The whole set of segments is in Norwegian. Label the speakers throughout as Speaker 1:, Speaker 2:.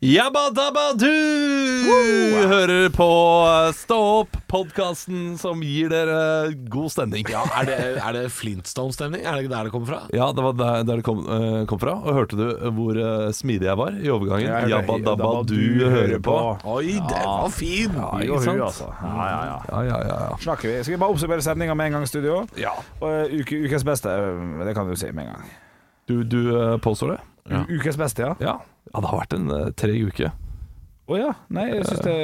Speaker 1: Jabba dabba du hører på eh, Stå opp, podkasten som gir dere god stemning. Ja,
Speaker 2: Er det, er det Flintstone-stemning? Er det ikke der det kommer fra?
Speaker 1: det var der, der det kom, eh, kom fra. Og hørte du hvor eh, smidig jeg var i overgangen?
Speaker 3: Jeg hørte,
Speaker 1: Jabba dabba
Speaker 3: «Jabba,
Speaker 1: du hører på.
Speaker 2: Oi, den var fin!
Speaker 3: Ja,
Speaker 1: ikke
Speaker 3: og hun,
Speaker 1: sant?
Speaker 3: altså. Ja, ja, ja.
Speaker 1: Ja, ja, ja, ja.
Speaker 3: Snakker vi. Skal vi bare oppsummere sendinga med en gang, i studio?
Speaker 1: Ja.
Speaker 3: Og eh, uke, ukens beste, eh, det kan du si med en gang.
Speaker 1: Du, du eh, påstår det?
Speaker 3: U- Ukens beste, ja? Å
Speaker 1: Ja. ja, det har vært en eh, treg uke.
Speaker 3: ja. Nei, jeg syns det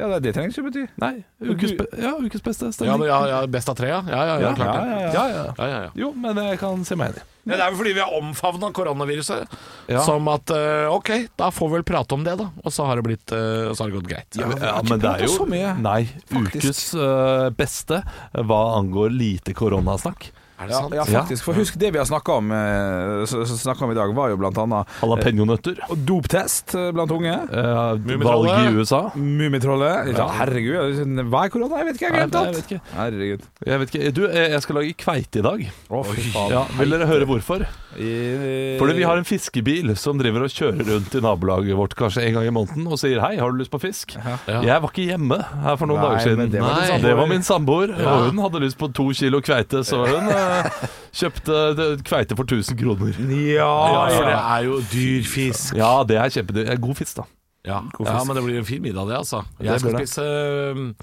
Speaker 3: Ja, det, det trenger ikke bety.
Speaker 1: Nei, ukes, be ja, ukes beste
Speaker 2: Ja, men
Speaker 1: stemning.
Speaker 2: ja, ja, best av tre, ja? Ja, ja, ja, klart
Speaker 3: ja,
Speaker 2: det.
Speaker 3: ja.
Speaker 1: Ja, ja.
Speaker 2: Ja, ja, ja.
Speaker 1: Jo, men jeg kan si meg enig.
Speaker 2: Ja, Det er vel fordi vi har omfavna koronaviruset.
Speaker 1: Ja.
Speaker 2: Som at eh, OK, da får vi vel prate om det, da. Og så har det, blitt, eh, så har det gått greit.
Speaker 1: Ja,
Speaker 3: har ikke
Speaker 1: men det
Speaker 3: prøvd
Speaker 1: er jo
Speaker 3: så mye,
Speaker 1: Nei, ukes eh, beste hva angår lite koronasnakk.
Speaker 2: Er det
Speaker 3: Ja,
Speaker 2: sant?
Speaker 3: ja, faktisk. For husk, det vi har snakka om, eh, s- s- snakket om i dag, var jo blant annet
Speaker 1: Jalapeñonøtter.
Speaker 3: og doptest eh, blant unge.
Speaker 1: Uh,
Speaker 2: Mummitrollet.
Speaker 1: valg i USA.
Speaker 3: Mummitrollet. Ja, herregud. jeg vet ikke- Hva er korona? Jeg vet ikke, jeg har
Speaker 1: Nei,
Speaker 3: glemt
Speaker 1: jeg
Speaker 3: alt.
Speaker 1: vet ikke.
Speaker 3: Herregud.
Speaker 1: Jeg vet ikke, du, eh, jeg skal lage kveite i dag.
Speaker 3: Å, fy faen.
Speaker 1: Ja, vil dere høre hvorfor?
Speaker 3: I-
Speaker 1: Fordi vi har en fiskebil som driver og kjører rundt i nabolaget vårt kanskje en gang i måneden og sier 'hei, har du lyst på fisk'?
Speaker 2: Ja.
Speaker 1: Jeg var ikke hjemme her for noen
Speaker 3: Nei,
Speaker 1: dager siden.
Speaker 3: men det var
Speaker 2: din
Speaker 1: Nei,
Speaker 2: samboer.
Speaker 1: det var min samboer, og hun hadde lyst på to kilo kveite, så hun eh, kjøpte eh, kveite for 1000 kroner.
Speaker 3: Mm. Ja,
Speaker 2: Ja,
Speaker 3: ja.
Speaker 2: for det er jo dyr fisk.
Speaker 1: Ja, det er kjempedyrt. God fisk, da.
Speaker 2: Ja. ja, men det blir en fin middag, det, altså.
Speaker 1: blir
Speaker 2: Jeg skal
Speaker 1: det.
Speaker 2: spise øhm,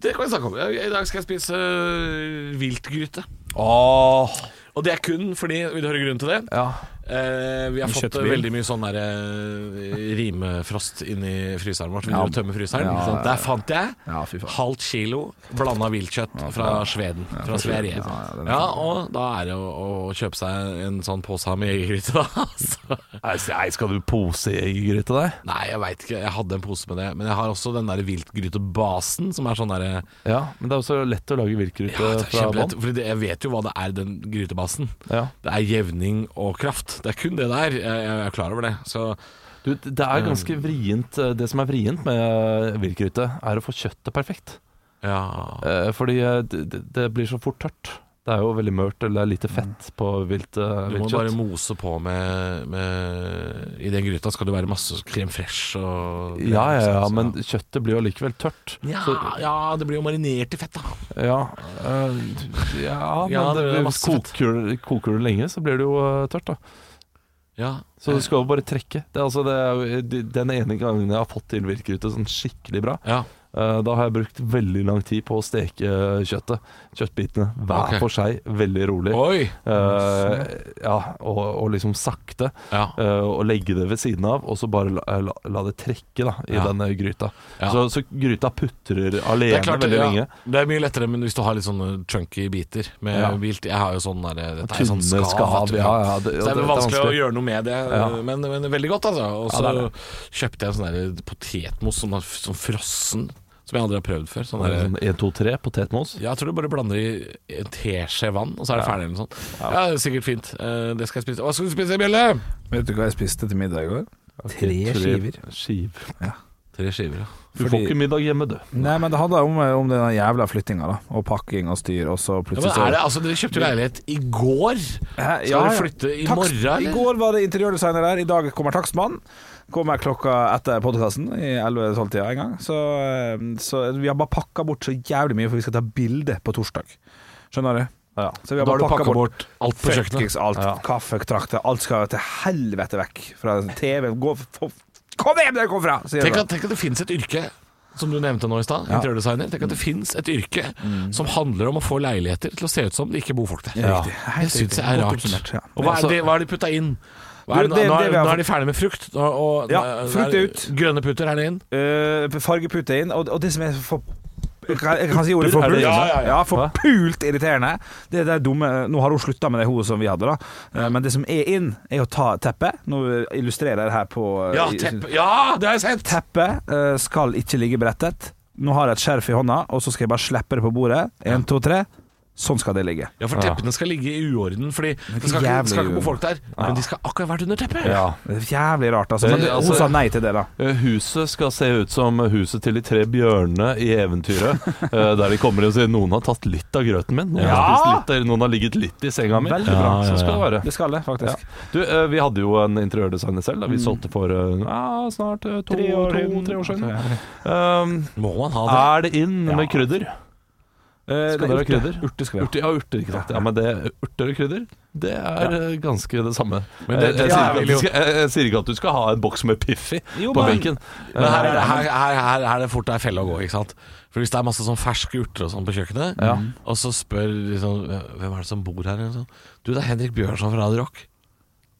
Speaker 2: Det kan vi snakke om. Jeg- I dag skal jeg spise øh, viltgryte.
Speaker 1: Åh,
Speaker 2: Og det er kun fordi Vil du høre grunnen til det?
Speaker 1: ja.
Speaker 2: Eh, vi har fått
Speaker 3: kjøttbil.
Speaker 2: veldig mye sånn der, eh, rimefrost inni fryseren vår. Så vi
Speaker 3: Ja.
Speaker 2: driver og tømmer fryseren.
Speaker 3: Ja,
Speaker 2: ikke sant? Der fant jeg
Speaker 3: Ja, fy faen.
Speaker 2: halvt kilo blanda viltkjøtt fra Sveden. Fra Sverige.
Speaker 3: Ja, ja, den er
Speaker 2: Ja, og da er det å, å kjøpe seg en sånn pose med jegergryte, da. altså.
Speaker 1: Nei, se- nei, skal du pose jegergryte til deg?
Speaker 2: Nei, jeg veit ikke. Jeg hadde en pose med det. Men jeg har også den der viltgrytebasen, som er sånn derre
Speaker 1: Ja, men det er jo så lett å lage viltgryte
Speaker 2: ja,
Speaker 1: fra vann.
Speaker 2: Fordi det, jeg vet jo hva det er, den grytebasen.
Speaker 1: Ja.
Speaker 2: Det er jevning og kraft. Det er kun det der. Jeg, jeg er klar over det. Så
Speaker 1: Du, det
Speaker 2: Ehm.
Speaker 1: er ganske vrient eh, Det som er vrient med viltgryte, er å få kjøttet perfekt.
Speaker 2: ja.
Speaker 1: Eh, Fordi eh, det, det- det blir så fort tørt. Det er jo veldig mørt, eller det er lite fett på vilt, eh,
Speaker 2: Mm. Du må bare
Speaker 1: viltkjøtt.
Speaker 2: mose på med, med I den gryta skal det være masse krem fresh og sånn,
Speaker 1: Ja, ja, ja,
Speaker 2: liksom, Så-
Speaker 1: men kjøttet blir jo allikevel tørt.
Speaker 2: ja,
Speaker 1: så-
Speaker 2: ja, det blir jo marinert i fett, da.
Speaker 1: Ja, eh, ja men
Speaker 2: Ja, det er
Speaker 1: det,
Speaker 2: masse fett.
Speaker 1: koker, du- koker du lenge, så blir det jo eh, tørt, da.
Speaker 2: Ja.
Speaker 1: Så du skal jo bare trekke. Det er altså det, er jo- den ene gangen jeg har fått til viltgryte sånn skikkelig bra,
Speaker 2: ja.
Speaker 1: Eh, Da har jeg brukt veldig lang tid på å steke kjøttet. Kjøttbitene hver
Speaker 2: Ok. sånn,
Speaker 1: for seg, veldig rolig.
Speaker 2: Oi!
Speaker 1: Eh, ja, og, og liksom sakte.
Speaker 2: Ja.
Speaker 1: eh, og legge det ved siden av, og så bare la, la, la det trekke da, i
Speaker 2: Ja.
Speaker 1: denne gryta.
Speaker 2: Ja.
Speaker 1: Så, så gryta putrer
Speaker 2: Det
Speaker 1: alene
Speaker 2: er, klart,
Speaker 1: veldig
Speaker 2: ja,
Speaker 1: lenge.
Speaker 2: det er mye lettere men hvis du har litt sånne chunky biter med
Speaker 1: Ja.
Speaker 2: vilt. Jeg har jo sånn der, dette er
Speaker 1: Tynne
Speaker 2: sånn skav.
Speaker 1: skav,
Speaker 2: vet du.
Speaker 1: ja, ja, det-
Speaker 2: så det er
Speaker 1: det- det
Speaker 2: vel
Speaker 1: er
Speaker 2: vanskelig å
Speaker 1: vanskelig.
Speaker 2: gjøre noe med det,
Speaker 1: Ja.
Speaker 2: men, men veldig godt, altså. Og så
Speaker 1: Ja, det er
Speaker 2: kjøpte jeg en sånn der potetmos som er f- sånn frossen, som jeg aldri har prøvd før. Sånn
Speaker 1: Det er
Speaker 2: der,
Speaker 1: Sånn 1, 2, 3, potetmos.
Speaker 2: ja, jeg tror du bare blander i en teskje vann, og så er det ferdig. eller noe sånt. Ja, det er sikkert fint. Eh, Det skal jeg spise. Hva skal du spise, Bjelle?
Speaker 3: Vet du hva jeg spiste til middag i går?
Speaker 1: Tre Skiv.
Speaker 2: Tre skiver, ja.
Speaker 1: Du får
Speaker 3: Fordi-
Speaker 1: ikke middag hjemme, du.
Speaker 3: Nei, men det handla om, eh, om den jævla flyttinga, da. Og pakking og styr, og så
Speaker 2: ja
Speaker 3: plutselig
Speaker 2: men er det, altså, dere kjøpte jo leilighet i går.
Speaker 3: Hæ?
Speaker 2: Skal dere flytte i
Speaker 3: Takst-
Speaker 2: morgen?
Speaker 3: I
Speaker 2: eller?
Speaker 3: går var det interiørdesigner der, i dag kommer takstmann. Kommer klokka etter podkasten, i 11-12-tida en gang. Så, eh, så vi har bare pakka bort så jævlig mye, for vi skal ta bilde på torsdag. Skjønner du?
Speaker 1: Ja.
Speaker 3: Så vi
Speaker 2: Da
Speaker 3: har bare
Speaker 2: har du
Speaker 3: pakka bort
Speaker 2: pakka bort alt på kjøkkenet.
Speaker 3: fuckings alt. Kaffetrakter, alt skal til helvete vekk fra TV. Gå for Kom hjem der du kom fra! sier jeg
Speaker 2: Tenk
Speaker 3: da.
Speaker 2: at, tenk at det finnes et yrke som du nevnte nå i stad,
Speaker 3: Ja. Mm.
Speaker 2: interiørdesigner. Tenk at det finnes et yrke som handler om å få leiligheter til å se ut som det ikke bor folk der.
Speaker 3: Ja.
Speaker 2: Riktig.
Speaker 3: Helt
Speaker 2: Det syns
Speaker 3: riktig.
Speaker 2: jeg er
Speaker 3: Godt
Speaker 2: rart.
Speaker 3: oppsummert, ja.
Speaker 2: Og hva
Speaker 1: Men altså-
Speaker 2: er det hva er de putta inn? Hva er,
Speaker 3: Du,
Speaker 2: det,
Speaker 3: det-
Speaker 2: nå,
Speaker 3: det
Speaker 2: er,
Speaker 3: vi har
Speaker 2: nå
Speaker 3: fått-
Speaker 2: er de ferdig med frukt. Og, og,
Speaker 3: Ja,
Speaker 2: nå er-
Speaker 3: frukt er ut.
Speaker 2: Grønne putter er det inn.
Speaker 3: Eh, fargepute inn, og, og det som er for jeg kan jeg kan si ordet for
Speaker 1: Er det-
Speaker 3: pult.
Speaker 1: ja, ja, ja.
Speaker 3: forpult irriterende. Det, det er dumme Nå har hun slutta med det hodet som vi hadde, da. Eh, Men det som er inn, er å ta teppet. Nå illustrerer jeg det her på eh,
Speaker 2: Ja,
Speaker 3: i-
Speaker 2: teppe. ja det har jeg sett!
Speaker 3: Teppet eh, skal ikke ligge brettet. Nå har jeg et skjerf i hånda, og så skal jeg bare slippe det på bordet. Én, to, tre. Sånn skal det ligge.
Speaker 2: Ja, for teppene skal ligge i uorden, Fordi det skal ikke,
Speaker 3: jævlig
Speaker 2: det skal ikke bo
Speaker 3: uorden.
Speaker 2: folk der. Men de skal akkurat vært under teppet!
Speaker 3: Ja, det er jævlig rart, altså. Men
Speaker 1: Det- altså-
Speaker 3: hun sa nei til det, da.
Speaker 1: Eh, Huset skal se ut som huset til de tre bjørnene i eventyret. eh, Der de kommer og sier 'noen har tatt litt av grøten min'. Noen, har,
Speaker 3: Ja!
Speaker 1: spist litt, eller noen har ligget litt i senga mi.
Speaker 3: Veldig bra.
Speaker 1: Sånn skal det være.
Speaker 3: Det skal det, faktisk.
Speaker 1: Du, eh, vi hadde jo en interiørdesigner selv. Da. Vi solgte for eh, ja, snart eh, to,
Speaker 3: Mm. Tre år
Speaker 1: to,
Speaker 3: siden. altså,
Speaker 1: tre år siden.
Speaker 3: Ja. Altså,
Speaker 1: Um,
Speaker 2: Må man ha
Speaker 1: er
Speaker 2: det?
Speaker 1: det inn
Speaker 3: Ja.
Speaker 1: med krydder?
Speaker 3: Eh,
Speaker 1: Skal
Speaker 3: nei,
Speaker 1: dere ha
Speaker 3: urte.
Speaker 1: krydder?
Speaker 3: Urte skal vi ha.
Speaker 1: Urter, ja, urter, ikke sant. Ja, men det, urter og krydder, det er eh, ganske det samme. Eh,
Speaker 2: Men det-
Speaker 1: jeg, jeg,
Speaker 2: ja,
Speaker 1: sier ikke at
Speaker 2: ja.
Speaker 1: du skal, jeg, jeg sier ikke at du skal ha en boks med Piffi
Speaker 3: Jo,
Speaker 1: på
Speaker 3: men-
Speaker 1: benken.
Speaker 2: Men her, er- her, her, her er det fort ei felle å gå, ikke sant. For hvis det er masse sånn ferske urter og sånn på kjøkkenet, og så spør liksom Hvem er det som bor her? Eller sånn. Du, det er Henrik Bjørnson fra Radio Rock.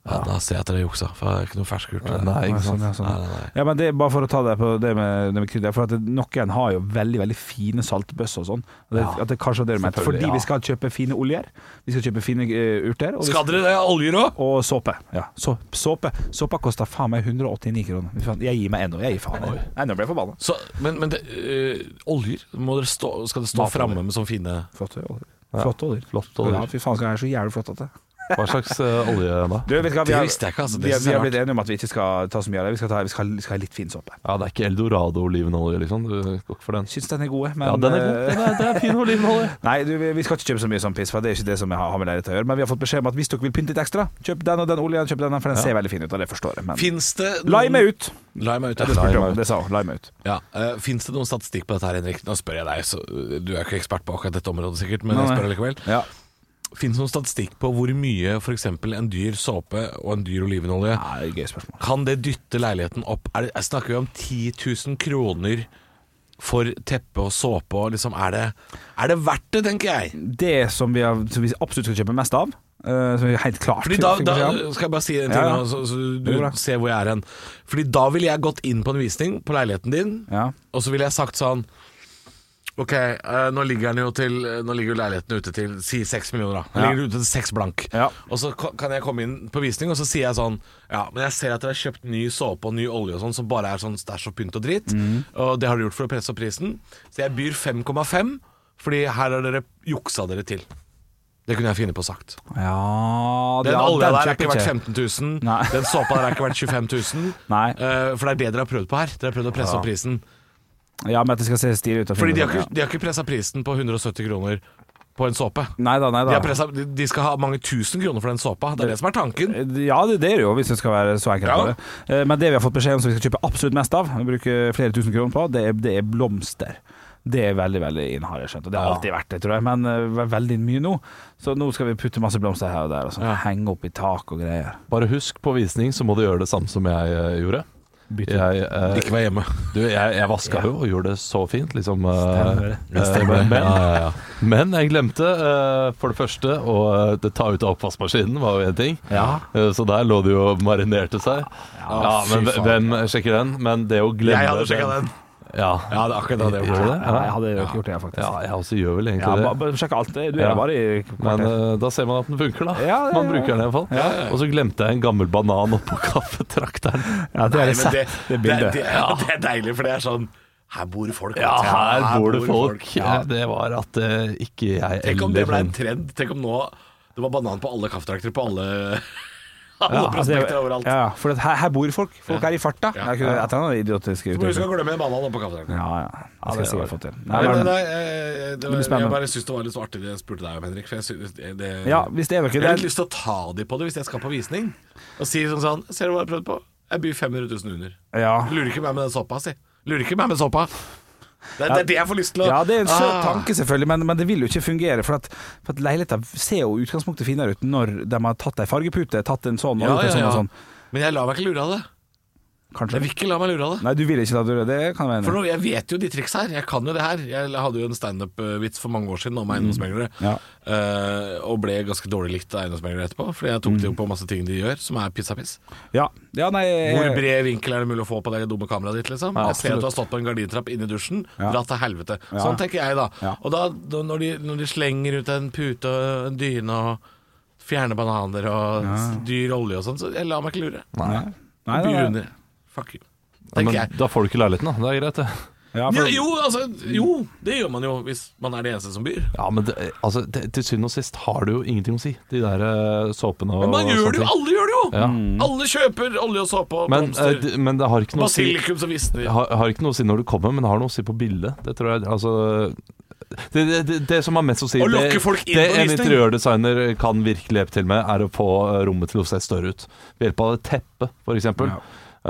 Speaker 2: Ja, da ser jeg at dere juksa, for det er ikke noen ferske urter.
Speaker 1: Nei,
Speaker 3: Ja,
Speaker 1: ikke sant.
Speaker 3: sånn, ja, sånn.
Speaker 2: Nei, nei, nei.
Speaker 3: Ja, men det er Bare for å ta det på det med, det med krydder. For at det, Noen har jo veldig veldig fine saltbøsser og sånn. Og det, at det er kanskje det du mente. Fordi
Speaker 1: ja.
Speaker 3: vi skal kjøpe fine oljer. Vi skal kjøpe fine eh, urter. Og, vi,
Speaker 2: Skal dere det? Oljer òg?
Speaker 3: og såpe. Ja, så, såpe. Såpa koster faen meg 189 kroner. Fy faen, Jeg gir meg ennå. Jeg gir faen. Jeg, Nei, nå ble jeg forbanna.
Speaker 2: Så, men men det, øh, oljer? Må dere stå, skal det stå
Speaker 3: Matoljer.
Speaker 2: framme med sånn fine
Speaker 3: Flotte oljer. Flotte oljer.
Speaker 1: Flott oljer.
Speaker 3: Ja, fy faen, skal jeg være så jævlig flott at det.
Speaker 1: Hva slags eh, olje da?
Speaker 3: Du, vet du hva, vi
Speaker 2: Det
Speaker 3: har-
Speaker 2: visste jeg ikke, altså. Det
Speaker 3: Vi, har-
Speaker 2: synes
Speaker 3: vi
Speaker 2: jeg
Speaker 3: har
Speaker 2: er
Speaker 3: blitt enige om at vi ikke skal ta så mye av det. Vi skal, ta, vi skal, vi skal ha litt fin såpe.
Speaker 1: Ja, det er ikke eldorado-olivenolje, liksom. Du går ikke for den.
Speaker 3: Syns den er gode, men
Speaker 1: Ja, den er,
Speaker 3: eh,
Speaker 1: god. den er, det er fin olivenolje.
Speaker 3: Nei, du, vi vi skal ikke kjøpe så mye sånn piss, for det er ikke det som jeg har har med leilighet å gjøre. Men vi har fått beskjed om at hvis dere vil pynte litt ekstra, kjøp den og den oljen, kjøp den, for den ser veldig fin ut, og det forstår jeg. Men
Speaker 2: Fins det
Speaker 3: lime ut!
Speaker 2: Lime ut,
Speaker 3: Det
Speaker 2: ja.
Speaker 3: spurte jeg om, det sa hun. Lime ut.
Speaker 2: ja. øh, Fins det noen statistikk på dette her, Henrik? Nå spør jeg deg, så øh, du er ikke ekspert på akkurat dette området sikkert, men
Speaker 3: Nei,
Speaker 2: jeg
Speaker 3: nei.
Speaker 2: spør likevel.
Speaker 3: Ja.
Speaker 2: Fins det noen statistikk på hvor mye f.eks. en dyr såpe og en dyr olivenolje
Speaker 3: Nei, gøy spørsmål.
Speaker 2: Kan det dytte leiligheten opp? Er det, jeg snakker vi om 10 000 kroner for teppe og såpe og liksom Er det, er det verdt det, tenker jeg?
Speaker 3: Det som vi, har, som vi absolutt skal kjøpe mest av, eh, som vi helt klart
Speaker 2: Fordi da,
Speaker 3: fikk
Speaker 2: da
Speaker 3: beskjed om.
Speaker 2: skal jeg bare si en ting,
Speaker 3: Ja, ja.
Speaker 2: nå, så, så
Speaker 3: Det går bra.
Speaker 2: du ser hvor jeg er hen. Fordi da ville jeg gått inn på en visning på leiligheten din,
Speaker 3: ja.
Speaker 2: og så ville jeg sagt sånn Ok, eh, nå ligger den jo til Nå ligger jo leiligheten ute til Si 6 millioner da Nå
Speaker 3: Ja.
Speaker 2: ligger den ute til 6 blank
Speaker 3: Ja.
Speaker 2: Og så ko- kan jeg komme inn på visning Og så sier jeg sånn Ja, men jeg ser at dere har kjøpt ny såpe og ny olje og sånn Som bare er sånn stæsj og pynt og dritt
Speaker 3: Mhm.
Speaker 2: Og det har dere gjort for å presse opp prisen Så jeg byr 5,5 Fordi her har dere juksa dere til Det kunne jeg finne på sagt
Speaker 3: ja
Speaker 2: Den
Speaker 3: ja,
Speaker 2: olja der er
Speaker 3: kjøper
Speaker 2: ikke verdt
Speaker 3: jeg.
Speaker 2: 15 000
Speaker 3: Nei.
Speaker 2: Den såpa der er ikke verdt 25 000
Speaker 3: Nei.
Speaker 2: Eh, For det er det dere har prøvd på her Dere har prøvd å presse opp prisen
Speaker 3: Ja, men at det skal se stilig ut. og
Speaker 2: fordi
Speaker 3: fint
Speaker 2: de
Speaker 3: ut,
Speaker 2: har ikke,
Speaker 3: ja.
Speaker 2: de har ikke pressa prisen på 170 kroner på en såpe.
Speaker 3: Nei da, nei
Speaker 2: De,
Speaker 3: da.
Speaker 2: har presset, de de skal ha mange tusen kroner for den såpa. Det er det som er tanken.
Speaker 3: Ja, det, det er det jo, hvis det skal være så enkelt.
Speaker 2: Ja.
Speaker 3: for det. Eh, Men det vi har fått beskjed om som vi skal kjøpe absolutt mest av, og bruke flere tusen kroner på, det er, det er blomster. Det er veldig veldig inn, har jeg skjønt. Og det har
Speaker 2: Ja.
Speaker 3: alltid vært det, tror jeg, men eh, ve- veldig mye nå. Så nå skal vi putte masse blomster her og der, og sånn. henge opp i tak og greier.
Speaker 1: Bare husk, på visning så må du gjøre det samme som jeg eh, gjorde. Jeg, eh,
Speaker 2: Ikke vær hjemme.
Speaker 1: du, jeg, jeg vaska jo og gjorde det så fint, liksom. eh, eh, men,
Speaker 2: Ja, ja, ja.
Speaker 1: men jeg glemte eh, for det første å eh, det ta ut av oppvaskmaskinen, var jo én ting.
Speaker 3: Ja.
Speaker 1: Eh, så der lå det jo og marinerte seg. Ja, men
Speaker 2: fy faen.
Speaker 1: hvem sjekker den? Men det å glemme
Speaker 2: Jeg hadde sjekka den.
Speaker 1: Ja.
Speaker 2: Ja, det er akkurat det.
Speaker 1: Gjorde du det?
Speaker 3: Ja, jeg hadde jo ikke gjort det, jeg, faktisk.
Speaker 1: ja,
Speaker 3: Ja,
Speaker 1: jeg også gjør vel egentlig det.
Speaker 3: ba- bare sjekk alt. Du er
Speaker 1: Ja.
Speaker 3: bare i
Speaker 1: Men
Speaker 3: kvarter.
Speaker 1: eh, da ser man at den funker, da.
Speaker 3: Ja, ja,
Speaker 1: man
Speaker 3: ja.
Speaker 1: bruker den i hvert fall. Og så glemte jeg en gammel banan oppå kaffetrakteren.
Speaker 3: Ja, det
Speaker 2: Nei,
Speaker 3: er
Speaker 2: men
Speaker 3: det,
Speaker 2: det,
Speaker 3: det
Speaker 2: det,
Speaker 3: bildet.
Speaker 2: det, ja, det er deilig, for det er sånn Her bor folk. vet
Speaker 1: Ja,
Speaker 2: du.
Speaker 1: her bor det folk.
Speaker 2: Ja.
Speaker 1: Ja, det var at eh, ikke jeg
Speaker 2: Tenk om det ble en
Speaker 1: hun-
Speaker 2: trend. Tenk om nå det var banan på alle kaffetrakter på alle, alle
Speaker 3: Ja, altså, det-
Speaker 2: prospekter overalt.
Speaker 3: ja, for at her, her bor folk. Folk er i farta. Det er ikke et eller annet idiotisk
Speaker 2: Så må du huske å glemme banan oppå kaffetrakten.
Speaker 3: Ja, ja. Det skal jeg sikkert få til.
Speaker 2: Nei,
Speaker 3: men-
Speaker 2: men, nei, eh, det
Speaker 3: blir
Speaker 2: var,
Speaker 3: spennende.
Speaker 2: jeg bare syns det var litt så artig det jeg spurte deg om, Henrik. For jeg, synes, det, det,
Speaker 3: Ja, hvis det er noe
Speaker 2: jeg har litt lyst til å ta de på det hvis jeg skal på visning. Og si sånn sånn Ser du hva jeg har prøvd på? Jeg byr 500 000 under.
Speaker 3: Ja.
Speaker 2: Lurer ikke meg med den såpa, si. Lurer ikke meg med såpa. Det, det er det jeg får lyst til å
Speaker 3: Ja, det er en søt
Speaker 2: Ah.
Speaker 3: tanke selvfølgelig, men, men det vil jo ikke fungere. For at, for at leiligheter ser jo i utgangspunktet finere ut når de har tatt ei fargepute, tatt en sånn og
Speaker 2: Ja,
Speaker 3: gjort en
Speaker 2: ja,
Speaker 3: sånn
Speaker 2: ja.
Speaker 3: og sånn.
Speaker 2: Men jeg lar meg ikke lure av det.
Speaker 3: Kanskje.
Speaker 2: Jeg vil ikke la meg lure av det.
Speaker 3: Nei, du vil ikke da, du. Det kan være
Speaker 2: For
Speaker 3: enig.
Speaker 2: nå, Jeg vet jo de triks her. Jeg kan jo det her. Jeg hadde jo en standup-vits for mange år siden om eiendomsmeglere.
Speaker 3: Mm. Ja.
Speaker 2: eh, og ble ganske dårlig likt av eiendomsmeglere etterpå. Fordi jeg tok
Speaker 3: Mm.
Speaker 2: det jo på masse ting de gjør, som er piss av piss.
Speaker 3: Ja. ja, nei
Speaker 2: Hvor bred vinkel er det mulig å få på det dumme kameraet ditt? liksom?
Speaker 3: Eh. Ja,
Speaker 2: jeg ser at du
Speaker 3: absolutt.
Speaker 2: har stått på en gardintrapp inne i dusjen.
Speaker 3: Ja.
Speaker 2: Dra til helvete.
Speaker 3: Ja.
Speaker 2: Sånn tenker jeg, da.
Speaker 3: Ja.
Speaker 2: Og da, da når, de, når de slenger ut en pute og en dyne og fjerner bananer og s- dyr olje og sånn, så jeg lar meg ikke lure.
Speaker 3: Nei. Nei,
Speaker 2: Byr
Speaker 3: nei, nei.
Speaker 2: under. Fuck you.
Speaker 1: Ja,
Speaker 2: Tenker
Speaker 1: men
Speaker 2: jeg.
Speaker 1: da får du ikke leiligheten, da. Det er greit, det.
Speaker 3: Ja,
Speaker 2: Ja,
Speaker 3: for,
Speaker 2: jo, altså, jo, det gjør man jo hvis man er det eneste som byr.
Speaker 1: Ja, men det, altså, det, til syvende og sist har det jo ingenting å si, de der eh, såpene og
Speaker 2: Men man
Speaker 1: sånne
Speaker 2: gjør det jo,
Speaker 1: ting.
Speaker 2: alle gjør det jo!
Speaker 1: Ja.
Speaker 2: Alle kjøper olje og såpe og
Speaker 1: Men, eh,
Speaker 2: blomster.
Speaker 1: det- men det har ikke noe å si
Speaker 2: Basilikum som visner.
Speaker 1: har, har ikke noe å si når du kommer, men det har noe å si på bildet. Det tror jeg Altså det, det, det, det som har mest å si
Speaker 2: Å
Speaker 1: det,
Speaker 2: lokke folk inn
Speaker 1: det
Speaker 2: på
Speaker 1: en
Speaker 2: visning.
Speaker 1: interiørdesigner kan virkelig hjelpe til med, er å få eh, rommet til å se større ut. Ved hjelp av et teppe, f.eks.
Speaker 3: Ja.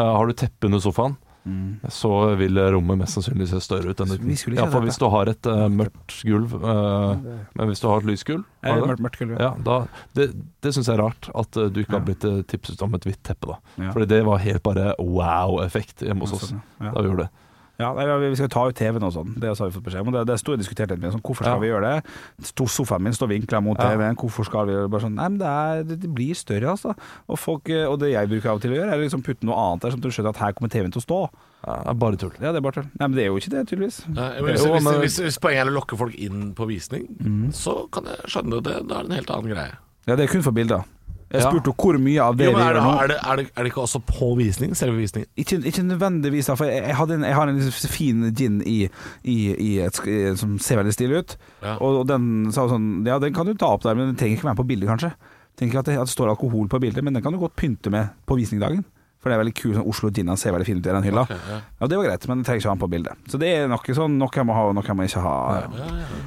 Speaker 1: har du teppe under sofaen,
Speaker 3: Mm.
Speaker 1: så vil eh, rommet mest sannsynlig se større ut enn
Speaker 3: Vi
Speaker 1: uten.
Speaker 3: skulle ikke
Speaker 1: Ja,
Speaker 3: ha
Speaker 1: for
Speaker 3: teppe.
Speaker 1: hvis du har et eh, mørkt gulv eh, Men hvis du har et lyst gulv
Speaker 3: Eh,
Speaker 1: har du det?
Speaker 3: mørkt- mørkt gulv, ja.
Speaker 1: ja, da, Det, det syns jeg er rart at eh, du ikke har
Speaker 3: Ja.
Speaker 1: blitt eh, tipset om et hvitt teppe, da.
Speaker 3: Ja.
Speaker 1: Fordi det var helt bare wow-effekt hjemme hos
Speaker 3: Ja,
Speaker 1: oss
Speaker 3: sånn, ja.
Speaker 1: da vi gjorde det.
Speaker 3: ja, nei, vi skal ta ut TV-en og sånn. Det har vi fått beskjed om. og Det, det sto jeg diskutert litt med. Sånn, hvorfor skal
Speaker 1: Ja.
Speaker 3: vi gjøre det? Sto, sofaen min står vinkla mot
Speaker 1: Ja.
Speaker 3: TV-en. Hvorfor skal vi gjøre det? Bare sånn, nei, men det, er, det- det blir større, altså. Og, folk, eh, og det jeg bruker av og til å gjøre, er liksom putte noe annet der, sånn at du skjønner at her kommer TV-en til å stå.
Speaker 1: Ja, det er bare tull.
Speaker 3: Ja, det er bare tull. Nei, men det er jo ikke det, tydeligvis.
Speaker 2: Nei, men hvis,
Speaker 1: Jo,
Speaker 2: hvis,
Speaker 1: men-
Speaker 2: hvis, hvis poenget er å lokke folk inn på visning,
Speaker 3: Mm.
Speaker 2: så kan jeg skjønne det. Da er det en helt annen greie.
Speaker 3: Ja, det er kun for bilder. Jeg
Speaker 1: Ja.
Speaker 3: spurte jo hvor mye av det
Speaker 2: Jo, men
Speaker 3: vi gjør
Speaker 2: er, det,
Speaker 3: nå.
Speaker 2: er, det, er, det, er det ikke også på visning? Selve visningen?
Speaker 3: Ikke, ikke nødvendigvis, da, for jeg, jeg, hadde en, jeg har en liksom fin gin i, i, i et, sk- i- som ser veldig stilig ut.
Speaker 2: Ja.
Speaker 3: Og, og den sa sånn Ja, den kan du ta opp der, men den trenger ikke være med på bildet, kanskje. Tenker ikke at det, at det står alkohol på bildet, men den kan du godt pynte med på visningdagen. For det er veldig kul sånn Oslo Gina ser veldig fin ut i den hylla. ja. det var greit, men den trenger ikke være med på bildet. Så det er noe sånn Noe jeg må ha, og noe jeg må ikke ha.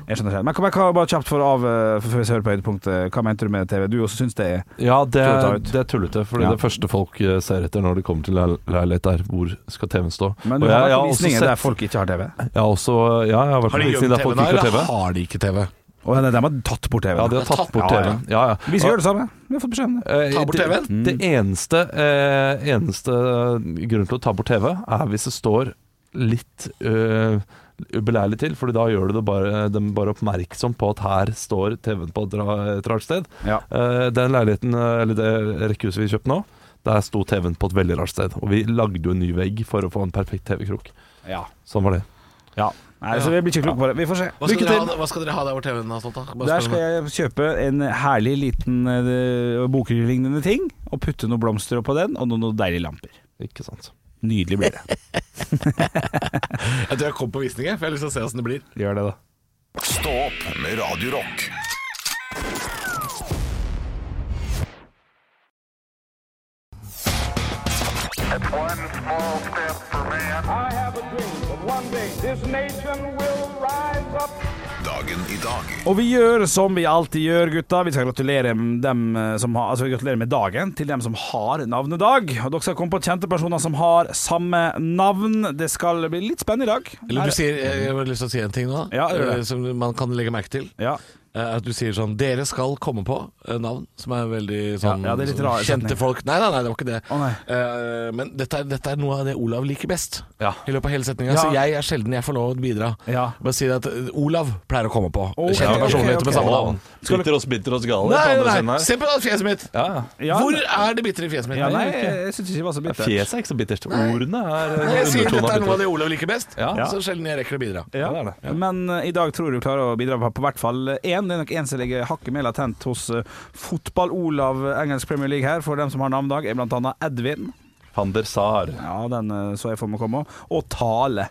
Speaker 3: Jeg skjønner ikke. Men kan- men kan jeg bare kjapt for av eh, for før vi ser på høydepunktet, hva mente du med TV? Du også syns det er
Speaker 1: Ja, det,
Speaker 3: Tull å ta ut.
Speaker 1: det er tullete. Fordi
Speaker 3: Ja.
Speaker 1: det første folk eh, ser etter når de kommer til leil- leilighet, er hvor skal TV-en stå.
Speaker 3: Men
Speaker 1: Og
Speaker 3: du
Speaker 1: jeg, jeg
Speaker 3: har vært på
Speaker 1: har også
Speaker 3: visninger der
Speaker 1: sett,
Speaker 3: folk ikke har TV.
Speaker 1: jeg har også, ja, jeg har vært på
Speaker 2: Har de
Speaker 1: visning
Speaker 2: gjemt
Speaker 1: der folk
Speaker 2: TV-en
Speaker 1: ikke har
Speaker 2: der, eller
Speaker 1: TV.
Speaker 2: har de ikke TV?
Speaker 3: Og de har tatt bort TV-en.
Speaker 1: Ja, de har tatt bort
Speaker 3: Ja, ja.
Speaker 1: TV-en. Ja, ja.
Speaker 3: Vi skal gjøre det samme. Vi har fått beskjed om det.
Speaker 1: Eh,
Speaker 2: Ta bort
Speaker 1: det-
Speaker 2: TV-en?
Speaker 1: Det eneste, eh, eneste grunnen til å ta bort TV, er hvis det står litt eh, ubeleilig til. Fordi da gjør du det bare, dem bare oppmerksom på at her står TV-en på et ra- et rart sted.
Speaker 3: Ja.
Speaker 1: Eh, den leiligheten, eh, eller det rekkehuset vi kjøpte nå, der sto TV-en på et veldig rart sted. Og vi lagde jo en ny vegg for å få en perfekt TV-krok.
Speaker 3: Ja.
Speaker 1: Sånn var det.
Speaker 3: Nei, så vi blir ikke kloke på det. Vi får se.
Speaker 2: Hva skal,
Speaker 3: Lykke
Speaker 2: dere
Speaker 3: til.
Speaker 2: ha, hva skal dere ha der hvor TV-en har stått, da?
Speaker 3: Der
Speaker 2: Bare spør
Speaker 3: skal
Speaker 2: meg.
Speaker 3: jeg kjøpe en herlig liten eh, bokhyllelignende ting, og putte noen blomster oppå den, og noen, noen deilige lamper.
Speaker 1: Ikke sant.
Speaker 3: Nydelig blir det.
Speaker 2: jeg tror jeg kommer på visning, jeg, for jeg har lyst til å se åssen det blir.
Speaker 3: Gjør det, da.
Speaker 4: Stå opp med Radio Rock.
Speaker 5: I have a dream that one day this nation will rise up.
Speaker 4: Dagen i dag.
Speaker 3: Og vi gjør som vi alltid gjør, gutta. Vi skal gratulere, med dem eh, som har, altså, vi gratulerer med dagen til dem som har navnedag. Og dere skal komme på kjente personer som har samme navn. Det skal bli litt spennende i dag.
Speaker 2: Eller du sier, jeg, jeg har lyst til å si en ting nå,
Speaker 3: Ja, gjør det.
Speaker 2: eh, som man kan legge merke til.
Speaker 3: Ja.
Speaker 2: Eh, At du sier sånn Dere skal komme på eh, navn som er veldig sånn
Speaker 3: Ja, ja, det er litt
Speaker 2: sånn
Speaker 3: rar
Speaker 2: kjente
Speaker 3: setning.
Speaker 2: folk. Nei, nei, nei, det var ikke det.
Speaker 3: Å, nei.
Speaker 2: Eh, men dette er, dette er noe av det Olav liker best
Speaker 1: Ja.
Speaker 2: i løpet av hele setninga.
Speaker 3: Ja.
Speaker 2: Så jeg er sjelden jeg får lov å bidra.
Speaker 3: Ja.
Speaker 2: Bare si at eh, Olav pleier å komme på.
Speaker 3: Ok,
Speaker 2: Kjente
Speaker 3: ok,
Speaker 2: personligheter
Speaker 3: ok.
Speaker 2: med samme navn.
Speaker 1: Bitter oss, bitter oss gale.
Speaker 2: Nei,
Speaker 1: på andre
Speaker 2: nei,
Speaker 1: siden her.
Speaker 2: nei, se på det fjeset mitt!
Speaker 1: Ja, ja.
Speaker 3: Ja,
Speaker 2: Hvor
Speaker 3: men-
Speaker 2: er det bitre i fjeset mitt?
Speaker 3: ja, nei,
Speaker 2: Nei,
Speaker 3: jeg, jeg syns ikke det var så bittert.
Speaker 1: Fjeset er ikke så bittert. Ordene er eh,
Speaker 2: jeg sier
Speaker 1: undertonen av
Speaker 2: dette er noe av
Speaker 1: bittert.
Speaker 2: det Olav liker best,
Speaker 1: Ja.
Speaker 2: så sjelden jeg rekker å bidra.
Speaker 3: Ja,
Speaker 1: det er det.
Speaker 3: Men eh, i dag tror jeg du klarer å bidra på, på hvert fall én. Det er nok én som ligger hakket mer latent hos eh, Fotball-Olav eh, engelsk Premier League her, for dem som har navnedag, er blant annet Edvin.
Speaker 1: Van der Sar.
Speaker 3: Ja, den eh, så jeg for meg komme. Og Tale.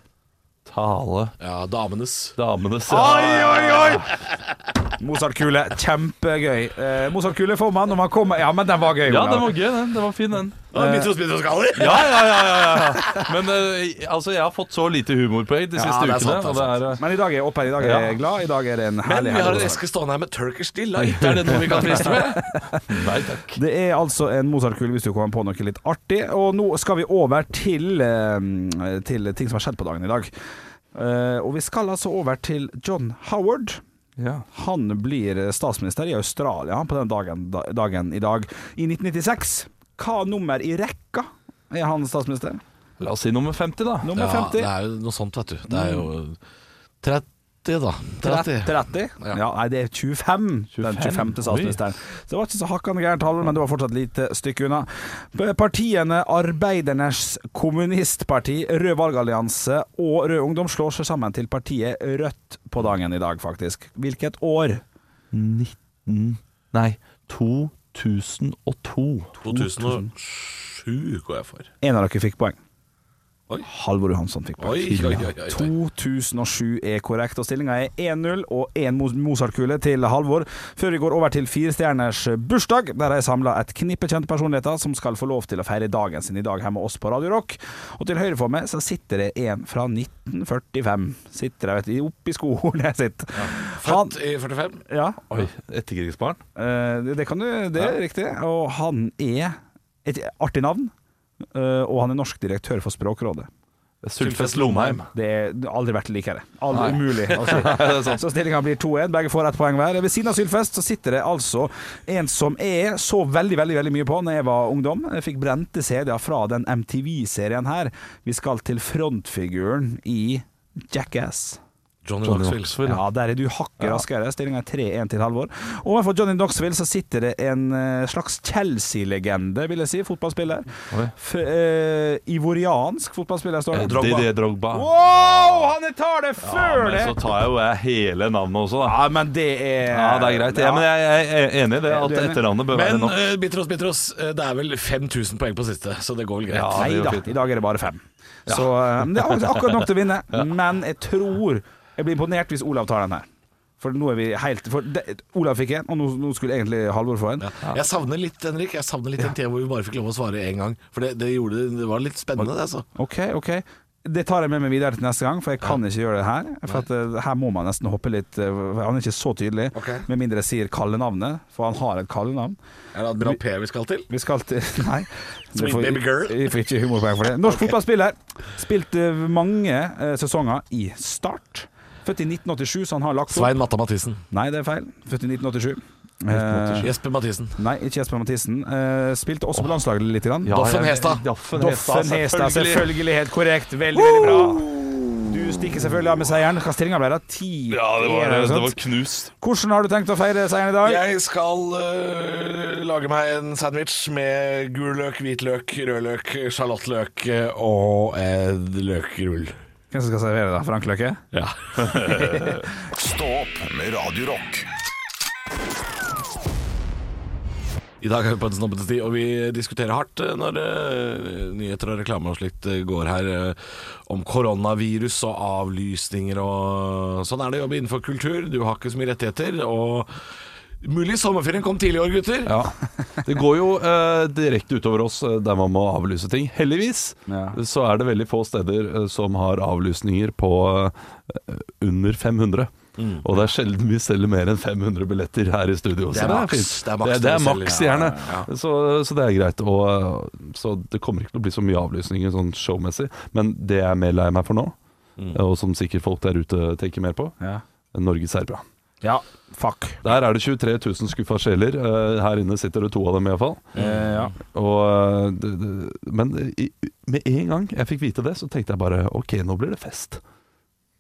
Speaker 1: Tale.
Speaker 2: Ja, damenes.
Speaker 1: Damenes Oi, oi, oi!
Speaker 3: Mozart-kule. Kjempegøy. Eh, Mozart-kule får man om han kommer Ja, men den var gøy,
Speaker 1: Ja,
Speaker 3: Olav.
Speaker 1: den var gøy, den. Den var fin, den.
Speaker 2: Da
Speaker 3: Eh,
Speaker 2: er det bitre og bitre og skaller.
Speaker 1: Ja, ja, ja. ja, ja. Men eh, altså, jeg har fått så lite humorpoeng de
Speaker 2: Ja,
Speaker 1: siste
Speaker 2: det
Speaker 1: ukene.
Speaker 2: er sant, det er
Speaker 1: og det er, eh,
Speaker 3: Men i dag er jeg oppe her. I dag er
Speaker 1: Ja.
Speaker 3: jeg glad. I dag er det en
Speaker 2: Men
Speaker 3: herlig
Speaker 2: vi har
Speaker 3: herlig
Speaker 2: en
Speaker 3: dag.
Speaker 2: eske stående her med Turkish Delight. Er det noe vi kan friste med?
Speaker 1: Nei takk.
Speaker 3: Det er altså en Mozart-kule hvis du kommer på noe litt artig. Og nå skal vi over til, eh, til ting som har skjedd på dagen i dag. Eh, og vi skal altså over til John Howard.
Speaker 1: Ja.
Speaker 3: Han blir statsminister i Australia på den dagen, da- dagen i dag. I 1996. Hva nummer i rekka er han statsminister?
Speaker 1: La oss si nummer 50, da.
Speaker 3: Nummer 50.
Speaker 2: Ja, det er jo noe sånt, vet du. Det er jo 30, da. 30.
Speaker 3: 30? Ja.
Speaker 2: Ja.
Speaker 3: nei, det er 25, den 25. statsministeren. Så det var ikke så hakkende gærent tall, men det var fortsatt lite stykke unna. P- Partiene Arbeidernes Kommunistparti, Rød valgallianse og Rød Ungdom slår seg sammen til partiet Rødt på dagen i dag, faktisk. Hvilket år?
Speaker 1: 19 Nei, 2002.
Speaker 2: 2007 går jeg for.
Speaker 3: En av dere fikk poeng.
Speaker 2: Oi.
Speaker 3: Halvor Johansson fikk
Speaker 2: Oi,
Speaker 3: poeng.
Speaker 2: oi, oi, oi, oi.
Speaker 3: 2007 er korrekt, og stillinga er 1-0 og én Mo- Mozart-kule til Halvor. Før vi går over til firestjerners bursdag, der har jeg samla et knippe kjente personligheter som skal få lov til å feire dagen sin i dag her med oss på Radio Rock. Og til høyre for meg så sitter det en fra 1945. Sitter jeg, vet du, oppi skolen jeg sitter. Han,
Speaker 2: Født i 45.
Speaker 3: ja,
Speaker 1: Oi, etterkrigsbarn?
Speaker 3: Eh, det, det kan du, det er riktig. Og han er et artig navn. eh, og han er norsk direktør for Språkrådet.
Speaker 1: Sylfest Lomheim.
Speaker 3: Det er det har aldri vært likere. Aldri
Speaker 1: Nei.
Speaker 3: umulig. Altså. så stillinga blir 2-1. Begge får ett poeng hver. Ved siden av Sylfest så sitter det altså en som jeg så veldig veldig, veldig mye på Når jeg var ungdom. Jeg fikk brente CD-er fra den MTV-serien her. Vi skal til frontfiguren i Jackass.
Speaker 2: Johnny
Speaker 1: Johnny
Speaker 2: Knoxville.
Speaker 1: Knoxville.
Speaker 3: Ja, der er du hakket raskere. Stillinga er 3-1 til Halvor. Overfor Johnny Knoxville så sitter det en eh, slags Chelsea-legende, vil jeg si. Fotballspiller.
Speaker 1: Oi.
Speaker 3: F eh, ivoriansk fotballspiller, står
Speaker 1: Eh,
Speaker 3: det.
Speaker 1: Didier Drogba.
Speaker 3: Wow, han tar det før
Speaker 1: Men
Speaker 3: det!
Speaker 1: så tar jeg jo jeg hele navnet også, da.
Speaker 3: Ja, men det er
Speaker 1: Ja, det er greit. Ja, men jeg, jeg er enig i det,
Speaker 3: Du
Speaker 1: at
Speaker 3: er enig?
Speaker 1: etternavnet bør være
Speaker 2: Men
Speaker 1: nok.
Speaker 2: eh, Bitros, Bitros, eh, det er vel 5000 poeng på siste, så det går vel greit.
Speaker 1: Ja. det
Speaker 3: Nei
Speaker 1: går
Speaker 3: da,
Speaker 1: fint.
Speaker 3: i dag er det bare fem. Så eh, men det er ak- akkurat nok til å vinne. Men jeg tror jeg blir imponert hvis Olav tar den her. For nå er vi helt for det, Olav fikk en, og nå, nå skulle egentlig Halvor få en.
Speaker 2: Ja. Jeg savner litt, Henrik, jeg savner litt den tida hvor vi bare fikk lov å svare én gang. For det, det, gjorde, det var litt spennende, det. altså
Speaker 3: Ok, ok Det tar jeg med meg videre til neste gang For jeg kan ikke gjøre det her For at, eh, her må man nesten hoppe litt eh, for Han er ikke så tydelig
Speaker 2: Ok.
Speaker 3: Med mindre jeg sier kallenavnet For han har et kallenavn
Speaker 2: Er det Admiral P vi skal til?
Speaker 3: Vi skal til Nei
Speaker 2: Sweet
Speaker 3: Vi får-
Speaker 2: baby girl.
Speaker 3: Vi får ikke humorpoeng for det Norsk fotballspiller Spilte mange eh, sesonger i start Født i 1987 Så han har lagt opp
Speaker 2: Svein Matta Mathisen.
Speaker 3: Nei, det er feil Født i 1987 Eh,
Speaker 2: Jesper Mathisen.
Speaker 3: Nei, ikke Jesper Mathisen Eh, Spilte også på landslaget litt grann.
Speaker 1: Ja,
Speaker 2: Doffen
Speaker 1: jeg-
Speaker 2: Hestad.
Speaker 1: Doffen Hestad,
Speaker 3: Doffen Hestad,
Speaker 1: selvfølgelig.
Speaker 3: selvfølgelig helt korrekt. Veldig, veldig bra. Du stikker selvfølgelig av med seieren. Hva stillinga ble da? 10
Speaker 1: Ja, det var,
Speaker 3: eller noe
Speaker 1: det
Speaker 3: sånt.
Speaker 1: var knust.
Speaker 3: Hvordan har du tenkt å feire seieren i dag?
Speaker 2: Jeg skal øh, lage meg en sandwich med gul løk, hvitløk, rødløk, sjalottløk øh, og eh, løkrull.
Speaker 3: Hvem som skal servere da? Frank Løkke?
Speaker 2: Ja.
Speaker 4: Stå opp med Radio Rock.
Speaker 2: I dag er vi på en snobbete sti, og vi diskuterer hardt øh, når øh, nyheter og reklame og slikt øh, går her øh, om koronavirus og avlysninger og sånn er det å jobbe innenfor kultur. Du har ikke så mye rettigheter, og mulig sommerferien kom tidlig i år, gutter.
Speaker 1: Ja. Det går jo eh, direkte utover oss eh, der man må avlyse ting. Heldigvis
Speaker 3: Ja.
Speaker 1: så er det veldig få steder eh, som har avlysninger på eh, under 500.
Speaker 2: Mm.
Speaker 1: Og det er sjelden vi selger mer enn 500 billetter her i studio.
Speaker 2: Det er
Speaker 1: så
Speaker 2: maks.
Speaker 1: fint.
Speaker 2: Det er maks
Speaker 1: det, det er
Speaker 2: vi selger,
Speaker 1: maks
Speaker 2: ja,
Speaker 1: gjerne.
Speaker 2: ja, ja.
Speaker 1: Så, så det er greit. Og, eh, så det kommer ikke til å bli så mye avlysninger sånn showmessig. Men det jeg er mer lei meg for nå,
Speaker 2: Mm.
Speaker 1: eh, og som sikkert folk der ute tenker mer på,
Speaker 3: Ja.
Speaker 1: Norge Serbia.
Speaker 3: ja. Fuck.
Speaker 1: Der er det 23 000 skuffa sjeler. Eh, Her inne sitter det to av dem iallfall.
Speaker 3: Eh, ja.
Speaker 1: Og, eh, det, det, men i, med en gang jeg fikk vite det, så tenkte jeg bare OK, nå blir det fest.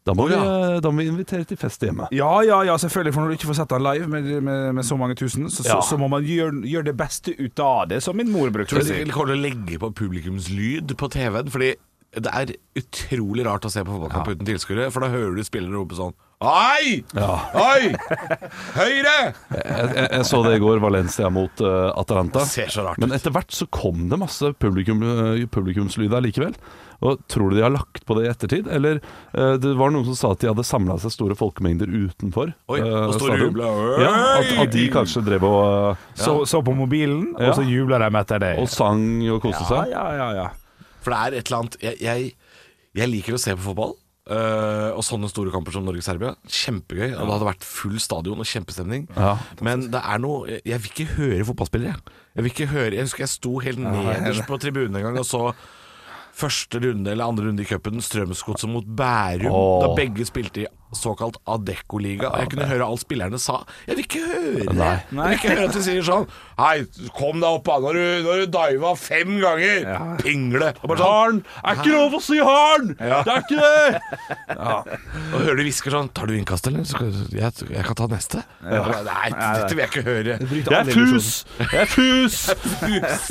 Speaker 1: Da må,
Speaker 2: Å, ja.
Speaker 1: vi, eh, da må vi invitere til fest hjemme.
Speaker 3: ja, ja, ja, selvfølgelig. For når du ikke får sett den live med, med, med så mange tusen, så,
Speaker 1: Ja.
Speaker 3: så, så må man gjøre, gjøre det beste ut av det, som min mor brukte å
Speaker 2: Tror du de
Speaker 3: si.
Speaker 2: vil komme til å legge på publikumslyd på TV-en? Fordi det er utrolig rart å se på fotballkamp uten tilskuere, for da hører du spillere rope sånn Oi! Oi! Høyre!
Speaker 1: Jeg, jeg, jeg så det i går, Valencia mot eh, Atalanta.
Speaker 2: Det ser så rart
Speaker 1: Men
Speaker 2: ut.
Speaker 1: etter hvert så kom det masse publikum, eh, publikumslyd allikevel. Og tror du de har lagt på det i ettertid? Eller eh, det var noen som sa at de hadde samla seg store folkemengder utenfor.
Speaker 2: Oi, og
Speaker 1: eh,
Speaker 2: står
Speaker 1: stadion.
Speaker 2: og jubler.
Speaker 1: Ja, at, at de kanskje drev og,
Speaker 3: Så, så på mobilen,
Speaker 1: Ja.
Speaker 3: og så jubla de etter det.
Speaker 1: og sang og koste
Speaker 3: Ja,
Speaker 1: seg.
Speaker 3: ja, ja, ja.
Speaker 2: For det er et eller annet Jeg, jeg, jeg liker å se på fotball. eh, og sånne store kamper som Norge-Serbia. Kjempegøy. Og det hadde vært full stadion og kjempestemning.
Speaker 1: Ja.
Speaker 2: Men det er noe Jeg, jeg vil ikke høre fotballspillere, jeg. Jeg, vil ikke høre, jeg husker jeg sto helt nederst på tribunen en gang og så første runde eller andre runde i cupen Strømsgodset mot Bærum.
Speaker 1: Åh.
Speaker 2: Da begge spilte i såkalt Adecco-liga. Og jeg kunne høre alt spillerne sa. Jeg vil ikke høre det!
Speaker 1: Nei.
Speaker 2: Jeg vil ikke høre at de sier sånn Hei, kom deg opp, da! Nå har du, nå har du diva fem ganger! Pingle! Og bare sånn
Speaker 1: Harn! Er ikke lov å si harn! Det er ikke det!
Speaker 2: Og hører de hvisker sånn Tar du innkast, eller? Så skal, jeg, jeg kan ta neste. Jeg bare, Nei, dette vil jeg ikke høre.
Speaker 1: Jeg er fus! Jeg er fus!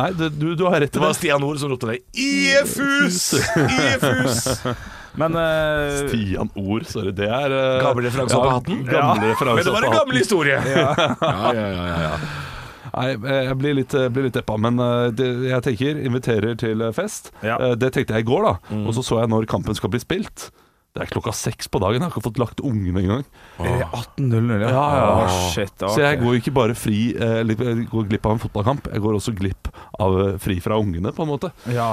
Speaker 1: Nei, du, du- du har rett
Speaker 2: Det
Speaker 1: i
Speaker 2: var
Speaker 1: det.
Speaker 2: Stian Ord som ropte det. IFUS! IFUS!
Speaker 3: Men eh,
Speaker 1: Stian Ord, sorry. Det er eh,
Speaker 2: Gammel referanse på hatten?
Speaker 1: Gamle
Speaker 2: Men
Speaker 1: referanse
Speaker 2: det var
Speaker 1: på
Speaker 2: en
Speaker 1: hatten.
Speaker 2: gammel historie. Ja, ja, ja, ja, ja.
Speaker 1: Nei, eh, jeg blir litt, jeg blir litt deppa, men eh, det, jeg tenker inviterer til fest.
Speaker 3: Ja.
Speaker 1: Eh, Det tenkte jeg i går, da. Og så så jeg når kampen skal bli spilt. Det er klokka seks på dagen. Jeg har ikke fått lagt ungene engang.
Speaker 3: Eller 18.00, ja.
Speaker 1: ja.
Speaker 3: Å, shit, ok.
Speaker 1: Så jeg går ikke bare fri eh, eller jeg går glipp av en fotballkamp, jeg går også glipp av eh, fri fra ungene, på en måte.
Speaker 3: Ja,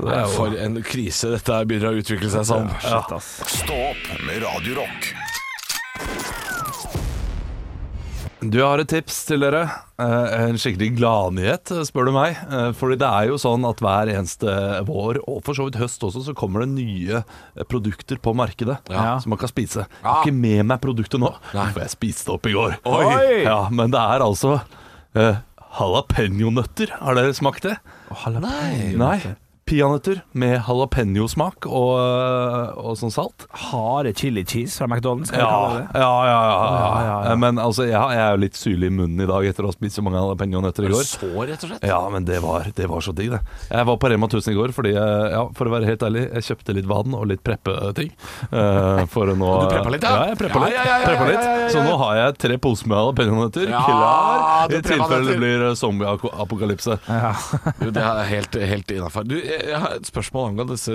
Speaker 1: Det er jo
Speaker 2: For en krise dette her begynner å utvikle seg som.
Speaker 3: shit, ass.
Speaker 4: Stå opp med Radio Rock.
Speaker 1: Du jeg har et tips til dere. Eh, En skikkelig gladnyhet, eh, spør du meg. Eh, Fordi det er jo sånn at hver eneste vår, og for så vidt høst også, så kommer det nye eh, produkter på markedet
Speaker 3: Ja.
Speaker 1: som man kan spise. Jeg
Speaker 2: Ja.
Speaker 1: har ikke med meg produktet nå,
Speaker 2: Nei.
Speaker 1: for jeg spiste det opp i går.
Speaker 3: Oi!
Speaker 1: Ja, men det er altså eh, jalapeño-nøtter. Har dere smakt det?
Speaker 2: Nei.
Speaker 1: Nei. Peanøtter med jalapeño-smak og, eh, og sånn salt.
Speaker 3: Harde chili cheese fra McDonald's. Skal
Speaker 1: Ja,
Speaker 3: vi
Speaker 1: ja,
Speaker 3: kalle det det?
Speaker 1: ja, ja,
Speaker 3: Ja, ja,
Speaker 1: ja.
Speaker 3: ja.
Speaker 1: Men altså, jeg, jeg er jo litt syrlig i munnen i dag etter å ha spist så mange jalapeño-nøtter i går.
Speaker 2: Så, rett og slett.
Speaker 1: Ja, men det var, det var så digg, det. Jeg var på Rema 1000 i går fordi, eh, ja, for å være helt ærlig, jeg kjøpte litt vann og litt preppeting. eh, For å nå
Speaker 2: Du preppa litt, ja?
Speaker 1: Ja, jeg preppa
Speaker 2: Ja,
Speaker 1: litt.
Speaker 2: ja, ja, ja,
Speaker 1: preppa
Speaker 2: ja,
Speaker 1: litt.
Speaker 2: ja, ja, ja.
Speaker 1: Så nå har jeg tre poser med jalapeño-nøtter
Speaker 2: Ja,
Speaker 1: klar
Speaker 2: du
Speaker 1: i
Speaker 2: preppa
Speaker 1: tilfelle
Speaker 2: nøtter.
Speaker 1: det blir eh, zombie-apokalypse.
Speaker 2: Du, Det er helt, helt innafor. Du, jeg jeg har et spørsmål angående disse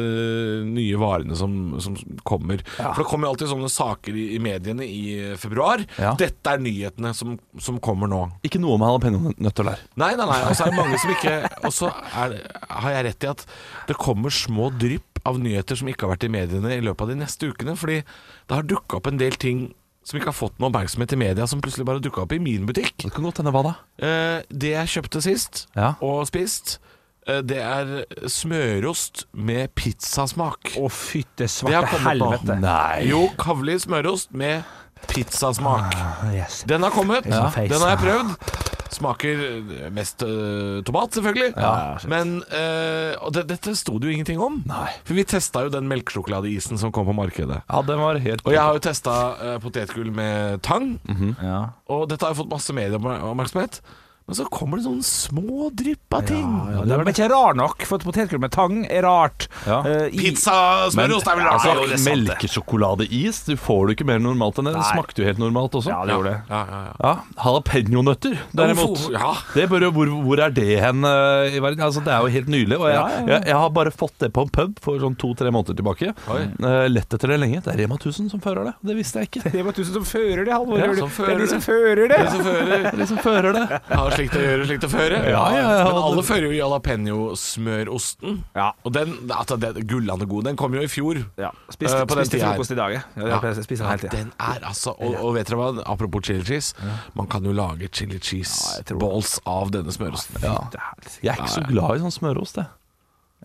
Speaker 2: nye varene som, som kommer. For det kommer jo alltid sånne saker i, i mediene i februar.
Speaker 1: Ja.
Speaker 2: Dette er nyhetene som, som kommer nå.
Speaker 1: Ikke noe med jalapeño-nøtter der.
Speaker 2: Nei, nei, nei. Og så er det mange som ikke Og så er det- har jeg rett i at det kommer små drypp av nyheter som ikke har vært i mediene i løpet av de neste ukene. Fordi det har dukka opp en del ting som ikke har fått noe oppmerksomhet i media, som plutselig bare dukka opp i min butikk.
Speaker 1: Det kan godt hende hva da?
Speaker 2: Eh, det jeg kjøpte sist
Speaker 1: Ja.
Speaker 2: og spist, eh, det er smørost med pizzasmak.
Speaker 3: Å, fytte
Speaker 2: Det har
Speaker 3: svarte
Speaker 2: kommet nå.
Speaker 3: helvete.
Speaker 1: Nei.
Speaker 2: Jo, kavli smørost med pizzasmak.
Speaker 3: Ah. Yes.
Speaker 2: Den har kommet.
Speaker 3: Ja.
Speaker 2: Den har jeg prøvd. Smaker eh, mest eh, tomat, selvfølgelig.
Speaker 3: Ja, shit.
Speaker 2: Men eh, og det, dette sto det jo ingenting om.
Speaker 1: Nei.
Speaker 2: For vi testa jo den melkesjokoladeisen som kom på markedet.
Speaker 1: Ja, den var helt
Speaker 2: Og jeg har jo testa eh, potetgull med tang.
Speaker 3: Ja.
Speaker 2: Og dette har jo fått masse medieoppmerksomhet. Men så kommer det sånne små drypp av ting.
Speaker 3: Ja, det er vel ikke rar nok, for potetgull med tang er rart.
Speaker 1: Ja.
Speaker 3: Eh, i-
Speaker 2: Pizzasmørrost er vel rart.
Speaker 1: Altså,
Speaker 2: Ja, det er sant, det.
Speaker 1: melkesjokoladeis, du får det ikke mer normalt enn det. Det
Speaker 3: Nei.
Speaker 1: smakte jo helt normalt også.
Speaker 3: Ja, det gjorde det.
Speaker 2: Ja, ja, ja.
Speaker 1: Ja, Jalapeño-nøtter, derimot.
Speaker 2: Hvorfor- ja.
Speaker 1: Det bør jo, hvor, hvor er det hen eh, i verden? Altså, det er jo helt nylig. Og jeg,
Speaker 3: Ja, ja, ja.
Speaker 1: jeg, jeg har bare fått det på en pub for sånn to-tre måneder tilbake.
Speaker 2: Oi.
Speaker 1: Eh, lett etter det lenge. Det er Rema 1000 som fører det. Det visste jeg ikke.
Speaker 3: Det var du som fører det, Halvor.
Speaker 1: Ja,
Speaker 3: Gjør du- det
Speaker 2: som fører
Speaker 3: er de
Speaker 2: det.
Speaker 3: som fører det.
Speaker 2: Det som fører
Speaker 1: Det er de som fører det.
Speaker 2: Ja, slikt å gjøre, slikt å føre.
Speaker 1: Ja, ja, ja.
Speaker 2: Men alle fører jo jalapeño-smørosten.
Speaker 3: Ja.
Speaker 2: Og den, altså, den gullande god, den kom jo i fjor.
Speaker 3: Ja, spiste,
Speaker 2: Eh, på den
Speaker 3: spiste
Speaker 2: tida her.
Speaker 3: frokost i dag, jeg. Ja,
Speaker 2: Ja.
Speaker 3: jeg spiser den hele
Speaker 2: Ja,
Speaker 3: tiden.
Speaker 2: den er altså og, og vet dere hva, apropos chili cheese. Man kan jo lage chili cheese
Speaker 3: Ja, jeg tror det.
Speaker 2: balls av denne smørosten.
Speaker 3: Det er helt sikkert.
Speaker 1: Jeg er ikke så glad i sånn smørost, jeg.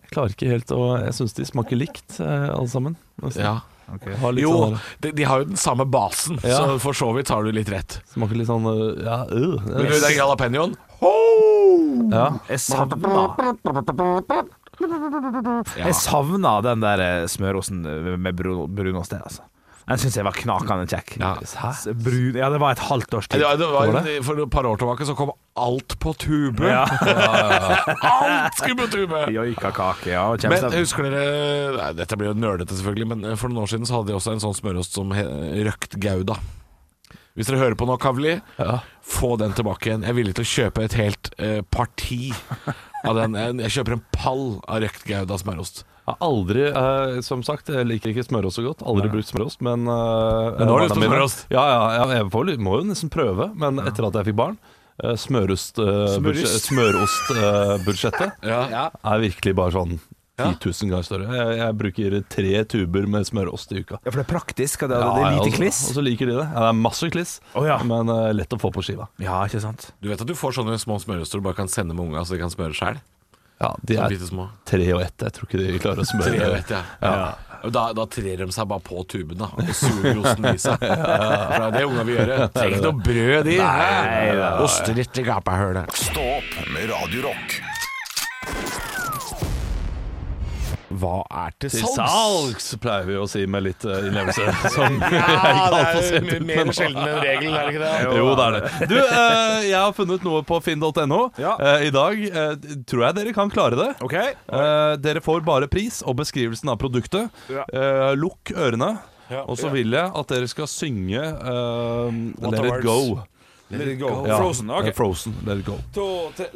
Speaker 1: Jeg klarer ikke helt å Jeg syns de smaker likt, eh, alle sammen. Nesten.
Speaker 2: Ja.
Speaker 1: Har litt
Speaker 2: Jo,
Speaker 1: sånn der-
Speaker 2: de, de har jo den samme basen,
Speaker 1: Ja.
Speaker 2: så for så vidt har du litt rett.
Speaker 1: smaker litt sånn eh, Ja, øh.
Speaker 2: Men du, den jalapeñoen
Speaker 1: ja.
Speaker 3: Jeg savna Jeg savna den der eh, smørosten med bru- brunost der, altså. Den syns jeg var knakende kjekk.
Speaker 2: Ja.
Speaker 3: S- Brun, ja, det var et halvt års tid.
Speaker 2: Ja, det var,
Speaker 1: Var
Speaker 2: For et par år tilbake så kom alt på tube.
Speaker 3: Ja.
Speaker 2: Alt skulle på tube!
Speaker 3: Joikakake, ja.
Speaker 2: Men
Speaker 3: Kjempe.
Speaker 2: husker dere nei, Dette blir jo nølete, selvfølgelig, men eh, for noen år siden så hadde de også en sånn smørost som he- røkt gouda. Hvis dere hører på nå, Kavli,
Speaker 1: Ja.
Speaker 2: få den tilbake igjen. Jeg er villig til å kjøpe et helt eh, parti av den. Jeg- Jeg kjøper en pall av røkt gouda smørost.
Speaker 1: Jeg har aldri, eh, som sagt, jeg liker ikke smørost så godt. Aldri brukt smørost, men eh,
Speaker 2: Men nå har du
Speaker 1: barna
Speaker 2: lyst på
Speaker 1: mine-
Speaker 2: smørost.
Speaker 1: Ja, ja, ja jeg får, ly- må jo nesten prøve. Men etter at jeg fikk barn eh, smørost, eh, budsje-
Speaker 3: Smørist.
Speaker 1: Smørostbudsjettet
Speaker 2: Ja.
Speaker 1: er virkelig bare sånn
Speaker 2: Ja.
Speaker 1: 10 000 ganger større. Jeg, jeg bruker tre tuber med smørost i uka.
Speaker 3: Ja, for det er praktisk, og det
Speaker 1: Ja,
Speaker 3: er, det
Speaker 1: ja, altså-
Speaker 3: er
Speaker 1: og
Speaker 3: lite
Speaker 1: så-
Speaker 3: kliss.
Speaker 1: Og så liker de det. Ja, det er masse kliss,
Speaker 3: Å, ja.
Speaker 1: men eh, lett å få på skiva.
Speaker 3: Ja, ikke sant.
Speaker 2: Du vet at du får sånne små smøroster du bare kan sende med unga, så de kan smøre sjøl?
Speaker 1: Ja, De
Speaker 2: Sånn
Speaker 1: er
Speaker 2: bitte små.
Speaker 1: tre og ett. Jeg tror ikke de klarer å smøre.
Speaker 2: Tre, vet jeg. Og Da, da trer de seg bare på tuben da, og suger osten i seg. For det er det unga vil gjøre. Trenger ikke noe brød, de. Oster rett i gapahølet.
Speaker 4: Stå opp med Radio Rock.
Speaker 2: Hva er til
Speaker 1: Til
Speaker 2: salgs?
Speaker 1: salgs, pleier vi å si med litt eh, innlevelse. Som
Speaker 2: Ja, det er
Speaker 1: kvalifisert
Speaker 2: jo
Speaker 1: ut
Speaker 2: mer
Speaker 1: med nå.
Speaker 2: sjelden enn regelen, er det ikke det?
Speaker 1: Jo, det er det. Du, eh, jeg har funnet noe på finn.no
Speaker 3: Ja.
Speaker 1: eh, i dag. Eh, tror jeg dere kan klare det.
Speaker 3: OK.
Speaker 1: Eh, dere får bare pris og beskrivelsen av produktet.
Speaker 3: Ja.
Speaker 1: Eh, lukk ørene,
Speaker 2: Ja.
Speaker 1: og så vil jeg at dere skal synge eh,
Speaker 2: What
Speaker 1: Let
Speaker 2: are
Speaker 1: it go.
Speaker 2: words?
Speaker 3: Let it go.
Speaker 1: Ja,
Speaker 3: Frozen.
Speaker 1: eh,
Speaker 3: Ok.
Speaker 1: Frozen, let it go.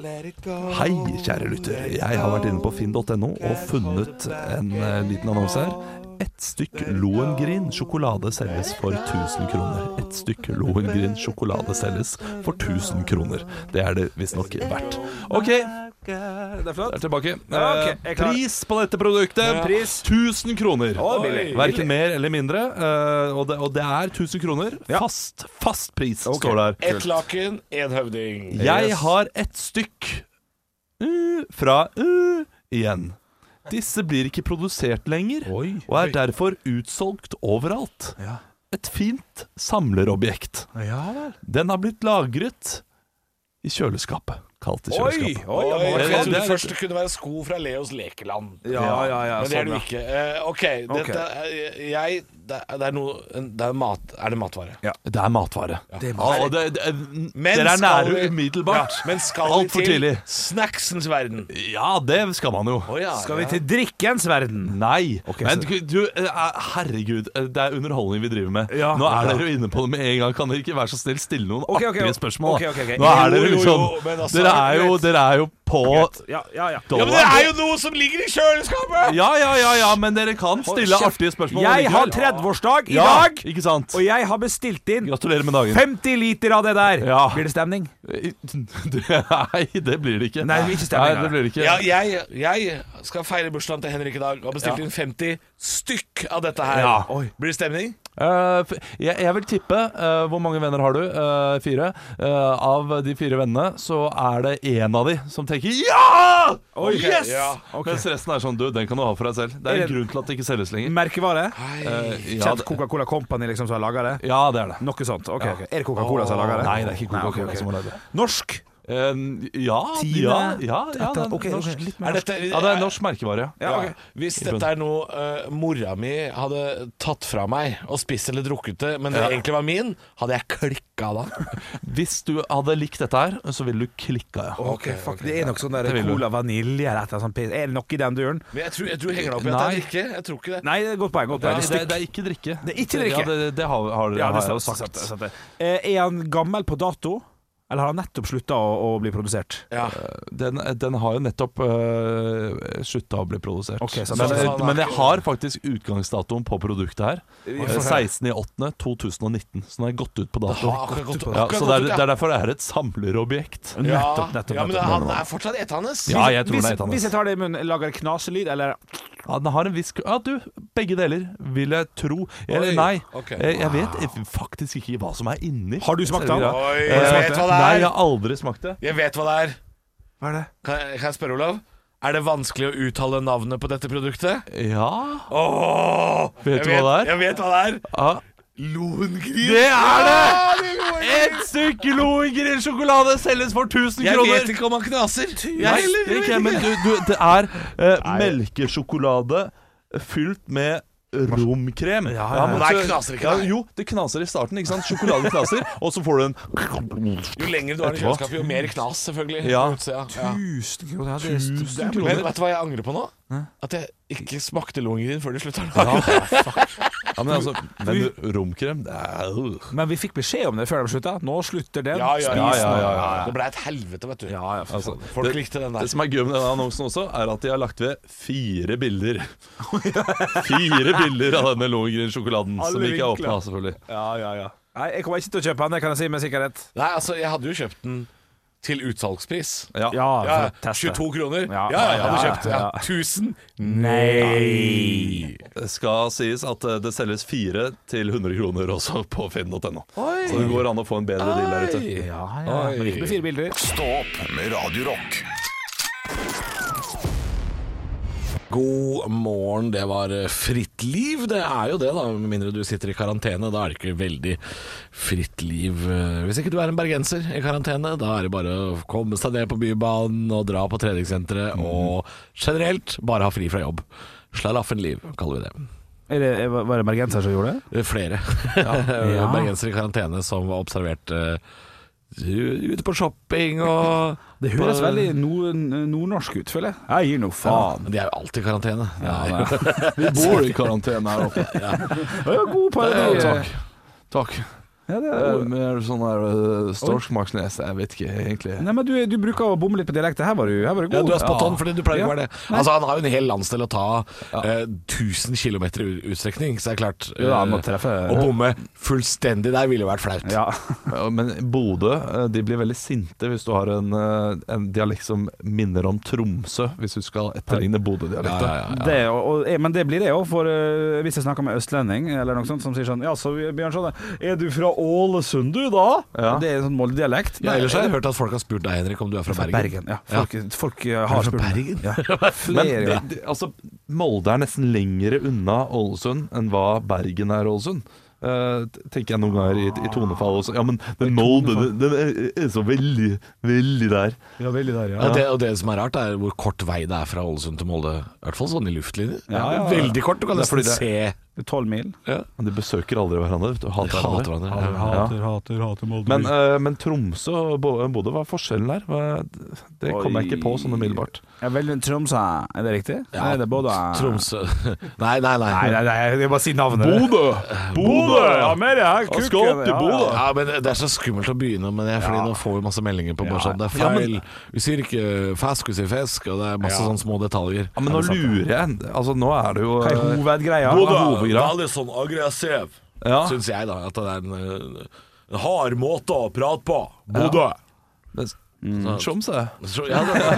Speaker 3: Let it go.
Speaker 1: Hei, kjære lytter. Jeg har vært inne på finn.no og funnet en eh, liten annonse her. Et stykk Lohengrin sjokolade selges for 1000 kroner. Et stykk Lohengrin sjokolade selges for 1000 kroner. Det er det visstnok verdt. OK,
Speaker 3: Det er
Speaker 1: jeg
Speaker 3: flott.
Speaker 1: er tilbake.
Speaker 3: Ja,
Speaker 1: Eh,
Speaker 3: ok, jeg er klar.
Speaker 1: Pris på dette produktet
Speaker 3: Ja. Pris.
Speaker 1: 1000 kroner.
Speaker 3: Å, billig.
Speaker 1: Verken mer eller mindre. eh, Og det, og det er 1000 kroner.
Speaker 3: Ja.
Speaker 1: Fast, fast pris
Speaker 3: Ok.
Speaker 1: står der.
Speaker 2: Ett laken, én høvding.
Speaker 1: Jeg har et stykk uh, fra uh, igjen. Disse blir ikke produsert lenger,
Speaker 3: Oi.
Speaker 1: og er derfor utsolgt overalt.
Speaker 3: Ja.
Speaker 1: Et fint samlerobjekt.
Speaker 3: Ja vel.
Speaker 1: Den har blitt lagret i kjøleskapet. Kalt i
Speaker 3: Oi,
Speaker 1: kjøleskapet.
Speaker 3: oi,
Speaker 2: Oi,
Speaker 3: oi.
Speaker 2: jeg
Speaker 1: det er
Speaker 2: trodde
Speaker 1: litt-
Speaker 2: først det kunne være sko fra Leos lekeland.
Speaker 3: Ja, ja, ja,
Speaker 2: Men det er
Speaker 3: sånn,
Speaker 2: det jo
Speaker 3: ja.
Speaker 2: ikke. Eh, OK,
Speaker 3: Ok.
Speaker 2: dette er jeg Det er det er noe det er, mat, er det matvare?
Speaker 1: Det er matvare.
Speaker 3: Det er
Speaker 1: Ja, og det, det, dere er
Speaker 2: skal
Speaker 1: nære
Speaker 2: vi-
Speaker 1: umiddelbart.
Speaker 2: Ja, men skal vi
Speaker 1: Altfor
Speaker 2: til
Speaker 1: tidlig.
Speaker 2: snacksens verden?
Speaker 1: Ja, det skal man jo.
Speaker 2: Å ja,
Speaker 3: Skal
Speaker 2: ja.
Speaker 3: vi til drikkens verden?
Speaker 1: Nei.
Speaker 3: Ok,
Speaker 1: men
Speaker 3: så-
Speaker 1: du, du, eh, herregud, eh, det er underholdning vi driver med.
Speaker 3: Ja.
Speaker 1: Nå er
Speaker 3: Ja.
Speaker 1: dere jo inne på det med en gang. Kan dere ikke være så snill stille noen
Speaker 3: Ok, ok,
Speaker 1: artige
Speaker 3: ok.
Speaker 1: spørsmål? da?
Speaker 3: Ok, ok, ok.
Speaker 1: Nå er
Speaker 2: Jo,
Speaker 1: dere
Speaker 2: jo,
Speaker 1: liksom
Speaker 2: jo, men altså,
Speaker 1: dere, er jo, dere er jo på
Speaker 3: Ja, ja, ja.
Speaker 2: Ja, men det er jo noe som ligger i kjøleskapet!
Speaker 1: ja, ja, ja, ja, men dere kan stille
Speaker 3: kjeft.
Speaker 1: artige spørsmål.
Speaker 3: Jeg har
Speaker 1: likevel.
Speaker 3: 30-årsdag i
Speaker 1: ja,
Speaker 3: dag,
Speaker 1: Ikke sant?
Speaker 3: og jeg har bestilt inn
Speaker 1: Gratulerer med dagen.
Speaker 3: 50 liter av det der.
Speaker 1: Ja.
Speaker 3: Blir det stemning?
Speaker 1: Nei, det blir det ikke.
Speaker 3: Nei, det blir ikke stemning,
Speaker 1: Nei,
Speaker 3: nei.
Speaker 1: det blir det ikke.
Speaker 2: Ja, jeg, jeg skal feire bursdagen til Henrik i dag og har bestilt inn 50 stykk av dette her.
Speaker 1: Ja.
Speaker 2: Oi. Blir det stemning?
Speaker 1: Eh, f- jeg, jeg vil tippe eh, Hvor mange venner har du? Eh, fire. Eh, av de fire vennene så er det én av de som tenker ja!
Speaker 3: Oi.
Speaker 1: yes!
Speaker 2: Ja,
Speaker 1: Mens resten er sånn du, den kan du ha for deg selv. Det er
Speaker 3: Er det-
Speaker 1: en grunn til at det ikke selges lenger.
Speaker 3: Merkevare?
Speaker 1: Eh, ja,
Speaker 3: Kjent
Speaker 1: det,
Speaker 3: Coca-Cola Company liksom som har laga det?
Speaker 1: ja, det er det.
Speaker 3: Noe sånt. ok, ok Er det Coca-Cola som har laga det?
Speaker 1: Nei, det er ikke Coca-Cola
Speaker 3: Nei, ok, ok.
Speaker 1: som har lagd det.
Speaker 3: Norsk?
Speaker 1: Eh, ja,
Speaker 3: Tine?
Speaker 1: ja, ja, ja, det
Speaker 3: Dette-
Speaker 1: er
Speaker 3: ok, ok,
Speaker 1: norsk.
Speaker 3: litt mer
Speaker 2: Er dette,
Speaker 1: ja, det er norsk merkevare. Ja.
Speaker 3: Ja, ok.
Speaker 2: Hvis dette er noe eh, mora mi hadde tatt fra meg og spist eller drukket det, men det egentlig var min, hadde jeg klikka da.
Speaker 1: Hvis du hadde likt dette her, så ville du klikka, ja.
Speaker 3: Ok, fuck, Det er nok sånn der
Speaker 1: Det vil du.
Speaker 3: Cola vanilje eller et eller annet sånt piss. Er det nok i den duren?
Speaker 2: Men jeg tror, jeg tror jeg henger deg opp i at det er drikke. Jeg tror ikke det.
Speaker 3: Nei, det er godt poeng. Godt poeng.
Speaker 1: Nei, det,
Speaker 3: Stykk.
Speaker 1: det er ikke drikke.
Speaker 3: Det er ikke drikke.
Speaker 1: Ja, det, det har, har,
Speaker 3: Ja, det
Speaker 1: har jeg jo
Speaker 3: sant,
Speaker 1: sagt.
Speaker 3: sant, sant, sant. Eh, Er han gammel på dato, eller har han nettopp slutta å, å bli produsert?
Speaker 2: Ja.
Speaker 1: Eh, Den, den har jo nettopp øh, slutta å bli produsert.
Speaker 3: Ok, så-
Speaker 1: men, eh,
Speaker 3: så-
Speaker 2: så- sånn
Speaker 1: men jeg har faktisk utgangsdatoen på produktet her. Eh,
Speaker 3: får høre.
Speaker 1: 16.8.2019. Så den er gått ut på dato.
Speaker 2: har akkurat gått ut,
Speaker 1: ja,
Speaker 2: akkurat
Speaker 1: så det er,
Speaker 2: gått ut, ja.
Speaker 1: det er derfor det er et samlerobjekt.
Speaker 2: Ja,
Speaker 3: Nettopp, nettopp.
Speaker 2: ja, men
Speaker 3: nettopp.
Speaker 2: han er fortsatt etende.
Speaker 1: Ja, jeg tror
Speaker 3: hvis,
Speaker 1: det er et
Speaker 3: hvis
Speaker 1: annet.
Speaker 3: jeg tar det i munnen, lager det knaselyd, eller
Speaker 1: Ja, den har en viss Ja, du, begge deler, vil jeg tro. Eller
Speaker 2: Oi,
Speaker 1: nei. Eh,
Speaker 2: ok.
Speaker 1: Jeg, jeg vet faktisk ikke hva som er inni.
Speaker 3: Har du smakt den?
Speaker 1: Ja.
Speaker 2: Oi,
Speaker 1: Eh,
Speaker 2: jeg vet hva det
Speaker 1: Nei,
Speaker 2: er.
Speaker 1: jeg har aldri smakt det.
Speaker 2: Jeg vet hva det er.
Speaker 3: Hva er det?
Speaker 2: Kan jeg, kan jeg spørre, Olav? Er det vanskelig å uttale navnet på dette produktet?
Speaker 1: Ja
Speaker 2: Åh,
Speaker 1: Vet
Speaker 2: jeg
Speaker 1: du hva det er?
Speaker 2: Jeg vet hva det er.
Speaker 1: ja.
Speaker 2: Lohengrin.
Speaker 1: Det er
Speaker 2: Ja,
Speaker 1: det!
Speaker 2: det er Lohengrin!
Speaker 1: Ett stykke Lohengrin sjokolade selges for 1000
Speaker 2: Jeg
Speaker 1: kroner.
Speaker 2: vet ikke om han knaser.
Speaker 1: Nei,
Speaker 2: Jeg heller
Speaker 1: ikke, men du, du, det er eh, melkesjokolade fylt med romkrem.
Speaker 3: ja, ja.
Speaker 1: men
Speaker 2: Nei,
Speaker 1: så-
Speaker 2: knaser ikke, nei.
Speaker 1: Ja, jo, det knaser i starten. ikke sant? Sjokolade knaser, og så får du en
Speaker 2: Jo lenger du har i
Speaker 1: Etterpå.
Speaker 2: kjøleskapet, jo mer knas, selvfølgelig.
Speaker 1: Ja.
Speaker 2: På utsida, ja.
Speaker 3: Tusen kroner. ja, det er-
Speaker 1: tusen
Speaker 2: Men
Speaker 1: kroner.
Speaker 2: vet du hva jeg angrer på nå? At jeg ikke smakte lungegrin før de slutta å
Speaker 1: Ja,
Speaker 2: lage det.
Speaker 1: ja, men altså, men du, romkrem det er, øh.
Speaker 3: Men vi fikk beskjed om det før de slutta. Nå slutter den.
Speaker 2: Ja, ja, ja,
Speaker 3: Spis
Speaker 2: ja,
Speaker 3: den.
Speaker 2: ja, ja. Det blei et helvete, vet du.
Speaker 3: Ja, ja, for
Speaker 1: Altså,
Speaker 3: faen.
Speaker 2: Folk
Speaker 1: det,
Speaker 2: likte den
Speaker 1: det
Speaker 2: der.
Speaker 1: som er gøy med denne annonsen også, er at de har lagt ved fire bilder. Fire bilder av denne Lohengrin-sjokoladen, som
Speaker 3: Alle
Speaker 1: ikke er
Speaker 3: vinkler.
Speaker 1: åpna, selvfølgelig.
Speaker 3: ja, ja, ja. Nei, jeg kommer ikke til å kjøpe den, det kan jeg si med sikkerhet.
Speaker 2: Nei, altså, jeg hadde jo kjøpt den til utsalgspris.
Speaker 1: Ja.
Speaker 2: Ja,
Speaker 3: Ja, for å teste.
Speaker 2: 22 kroner. Ja,
Speaker 3: Ja,
Speaker 2: ja, jeg hadde
Speaker 3: ja,
Speaker 2: kjøpt ja.
Speaker 3: ja.
Speaker 2: 1000.
Speaker 3: Nei!
Speaker 1: Det skal sies at eh, det selges fire til 100 kroner også på finn.no. Så det går an å få en bedre deal der ute.
Speaker 3: Ja, ja. Men ikke med fire bilder.
Speaker 4: Stå opp med Radio Rock.
Speaker 2: God morgen, det var eh, fritt liv. Det er jo det, da. Med mindre du sitter i karantene. Da er det ikke veldig fritt liv. Eh, Hvis ikke du er en bergenser i karantene, da er det bare å komme seg ned på Bybanen og dra på treningssenteret
Speaker 3: Mhm.
Speaker 2: og generelt bare ha fri fra jobb. Slalaffenliv, kaller vi det.
Speaker 3: Er det, er- var det bergenser som gjorde det?
Speaker 2: Eh, Flere
Speaker 3: Ja.
Speaker 2: bergensere i karantene som var observert eh, ute på shopping og
Speaker 3: Det høres veldig nord- nordnorsk ut, føler jeg. Jeg gir nå faen.
Speaker 2: Men De er jo alltid i karantene.
Speaker 3: Ja, det er-
Speaker 1: Vi bor i karantene her oppe.
Speaker 3: Ja, god
Speaker 2: Det er jo
Speaker 3: parodi.
Speaker 1: Takk.
Speaker 3: Ja, det er,
Speaker 1: Eh, Med sånn der eh, Storchmaksnes Jeg vet ikke, egentlig.
Speaker 3: Nei, men du, du bruker å bomme litt på dialekten. Her var du, her var du god.
Speaker 2: Ja, du er spot on,
Speaker 3: Ja.
Speaker 2: fordi du
Speaker 3: Ja.
Speaker 2: pleier å være det.
Speaker 3: Nei.
Speaker 2: Altså, Han har jo en hel landsdel å ta eh, 1000 km i utstrekning, så det er klart
Speaker 3: Jo da, han må
Speaker 2: eh,
Speaker 3: treffe-
Speaker 2: Å bomme fullstendig der ville jo vært flaut.
Speaker 3: Ja.
Speaker 1: Ja, Men Bodø eh, de blir veldig sinte hvis du har en, eh, en dialekt som minner om Tromsø, hvis du skal etterligne
Speaker 2: Ja,
Speaker 1: Bodø-dialekta.
Speaker 2: ja, ja, ja.
Speaker 3: Det, er jo- og, eh, men det blir det jo, for eh, hvis jeg snakker med østlending eller noe sånt, som sier sånn Ja, så Bjørn Sjåne, er du fra Ålesund, du, da?
Speaker 1: Ja.
Speaker 3: Det er en sånn Molde-dialekt.
Speaker 2: Ja, ellers har jeg hørt at folk har spurt deg, Henrik, om du er fra Bergen.
Speaker 3: Bergen. Ja, folk, folk eh, har
Speaker 2: Er du fra
Speaker 3: spurt meg.
Speaker 2: Bergen?
Speaker 3: Ja.
Speaker 1: Men
Speaker 3: Flere
Speaker 1: det,
Speaker 3: ganger.
Speaker 1: det, altså, Molde er nesten lengre unna Ålesund enn hva Bergen er Ålesund. Eh, t- tenker jeg noen ganger i, i tonefall også. Ja, men den Molde den, den er, er så veldig, veldig der.
Speaker 3: Ja, veldig der, ja.
Speaker 2: Ja, det, og det som er rart, er hvor kort vei det er fra Ålesund til Molde. I hvert fall sånn i luftlinje.
Speaker 3: Ja, ja, ja.
Speaker 2: Veldig kort, du kan
Speaker 1: Det er
Speaker 2: nesten
Speaker 1: fordi
Speaker 2: se
Speaker 3: Tolv mil.
Speaker 1: Men de besøker aldri hverandre. vet du, og Hater
Speaker 2: Hater
Speaker 1: hverandre.
Speaker 2: hverandre. Ja.
Speaker 1: Hater,
Speaker 3: hater, hater Molde.
Speaker 1: Men, eh, men Tromsø og Bo- Bodø, hva er forskjellen der? Hva, det kommer jeg ikke på sånn umiddelbart.
Speaker 3: Ja, vel, Tromsø, er det riktig?
Speaker 2: Ja,
Speaker 3: Nei, det er både
Speaker 2: Tromsø Nei, nei, nei.
Speaker 3: Nei, nei, nei, jeg bare sier navnet.
Speaker 1: Bodø!
Speaker 3: Ja, mer jeg,
Speaker 1: Han skal opp til Bodø.
Speaker 2: Ja, men Det er så skummelt å begynne med det, Fordi nå får vi masse meldinger på bare sånn Det er
Speaker 1: Ja,
Speaker 2: feil.
Speaker 1: men-
Speaker 2: vi sier ikke fisk, vi sier fisk, og det er masse sånne små detaljer.
Speaker 1: Ja, men nå lurer jeg. Altså, nå er det jo
Speaker 3: Hva er
Speaker 1: eh,
Speaker 3: hovedgreia?
Speaker 1: hovedgreia.
Speaker 2: Veldig sånn aggressiv,
Speaker 1: Ja.
Speaker 2: syns jeg, da. At det er en, eh, en hard måte å prate på. Bodø.
Speaker 1: mens- Tromsø.
Speaker 2: Så- Mm. Ja, den er, den er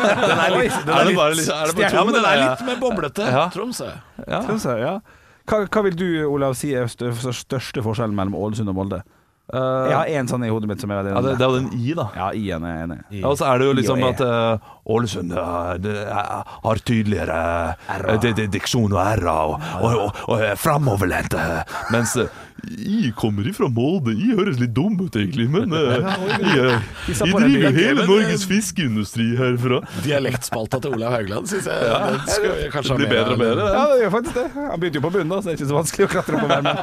Speaker 2: litt,
Speaker 1: Er
Speaker 2: den er
Speaker 1: det
Speaker 2: litt,
Speaker 1: bare litt- er det bare
Speaker 2: ja, men den er
Speaker 1: Tromsø?
Speaker 2: litt mer boblete.
Speaker 1: Ja.
Speaker 2: Tromsø.
Speaker 1: Ja.
Speaker 3: Tromsø, ja. Hva, hva vil du, Olav, si er stø- største forskjellen mellom Ålesund og Molde?
Speaker 1: Eh,
Speaker 3: Jeg har én sånn i hodet mitt som er veldig
Speaker 1: ja, det, det er jo den I, da.
Speaker 3: Ja, I-en er jeg enig. i.
Speaker 1: Ja, og så er det jo liksom
Speaker 3: I og E.
Speaker 1: at eh, Ålesund eh, det er- har tydeligere eh, det- det- diksjon og r-a, og, og, og, og er framoverlente. Mens eh, I kommer ifra Molde. I høres litt dum ut, egentlig, men eh, I, eh,
Speaker 3: Vi sa
Speaker 1: I
Speaker 3: på den
Speaker 1: driver
Speaker 3: byen.
Speaker 1: hele
Speaker 2: Men, eh,
Speaker 1: Norges fiskeindustri herfra.
Speaker 2: Dialektspalta til Olav Haugland syns jeg den skal vi kanskje
Speaker 1: Det blir
Speaker 2: ha
Speaker 1: bedre
Speaker 2: med.
Speaker 1: og bedre.
Speaker 3: Ja, det gjør faktisk det. Han begynte jo på bunnen, da, så det er ikke så vanskelig å klatre opp på verden.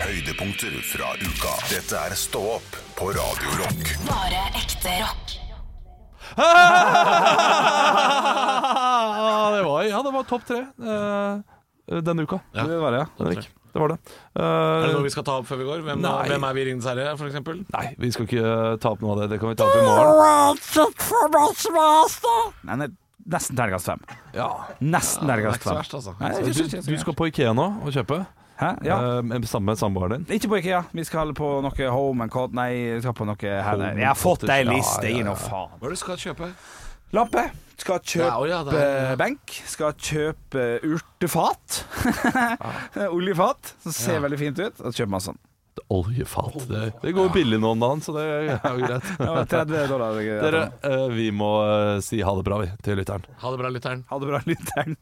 Speaker 4: Høydepunkter fra uka. Dette er Stå opp på Radio Rock.
Speaker 6: Bare ekte rock.
Speaker 1: Ah, det var, ja, det var topp tre eh, denne uka.
Speaker 2: Ja.
Speaker 3: Det var det, ja.
Speaker 1: Henrik. Det var det. Eh,
Speaker 2: Er det noe vi skal ta opp før vi går? Hvem,
Speaker 1: Nei.
Speaker 2: hvem er vi i Ringenes herre, for eksempel?
Speaker 1: Nei, vi skal ikke eh, ta opp noe av det. Det kan vi ta opp i morgen.
Speaker 3: Nei, nei, nesten terningkast fem.
Speaker 1: Ja.
Speaker 3: Nesten terningkast
Speaker 2: ikke så
Speaker 3: fem.
Speaker 2: verst, altså.
Speaker 3: Nei, jeg synes
Speaker 1: Du,
Speaker 3: ikke det er så
Speaker 1: du
Speaker 3: gærent.
Speaker 1: skal på Ikea nå og kjøpe,
Speaker 3: Hæ? Ja.
Speaker 1: eh, med- sammen med samboeren din.
Speaker 3: Ikke på IKEA. Vi skal på noe Home and Cot Nei, vi skal på noe her
Speaker 1: Home and
Speaker 3: Jeg har fått ei
Speaker 1: Cottage.
Speaker 3: liste,
Speaker 1: Ja,
Speaker 3: gi
Speaker 1: ja,
Speaker 3: nå
Speaker 1: ja.
Speaker 3: faen.
Speaker 2: Hva er det du skal kjøpe?
Speaker 3: Lampe. Skal kjøpe
Speaker 2: Ja, å ja, det er-
Speaker 3: benk. Skal kjøpe urtefat. Oljefat, som ser veldig fint ut. Og kjøper masse sånn.
Speaker 1: Oljefat. Det, det går billig nå om dagen, så det er jo greit.
Speaker 3: Ja, 30 dollar.
Speaker 1: Dere, eh, vi må eh, si ha det bra, vi, til lytteren.
Speaker 2: Ha det bra, lytteren.
Speaker 3: Ha det bra, lytteren.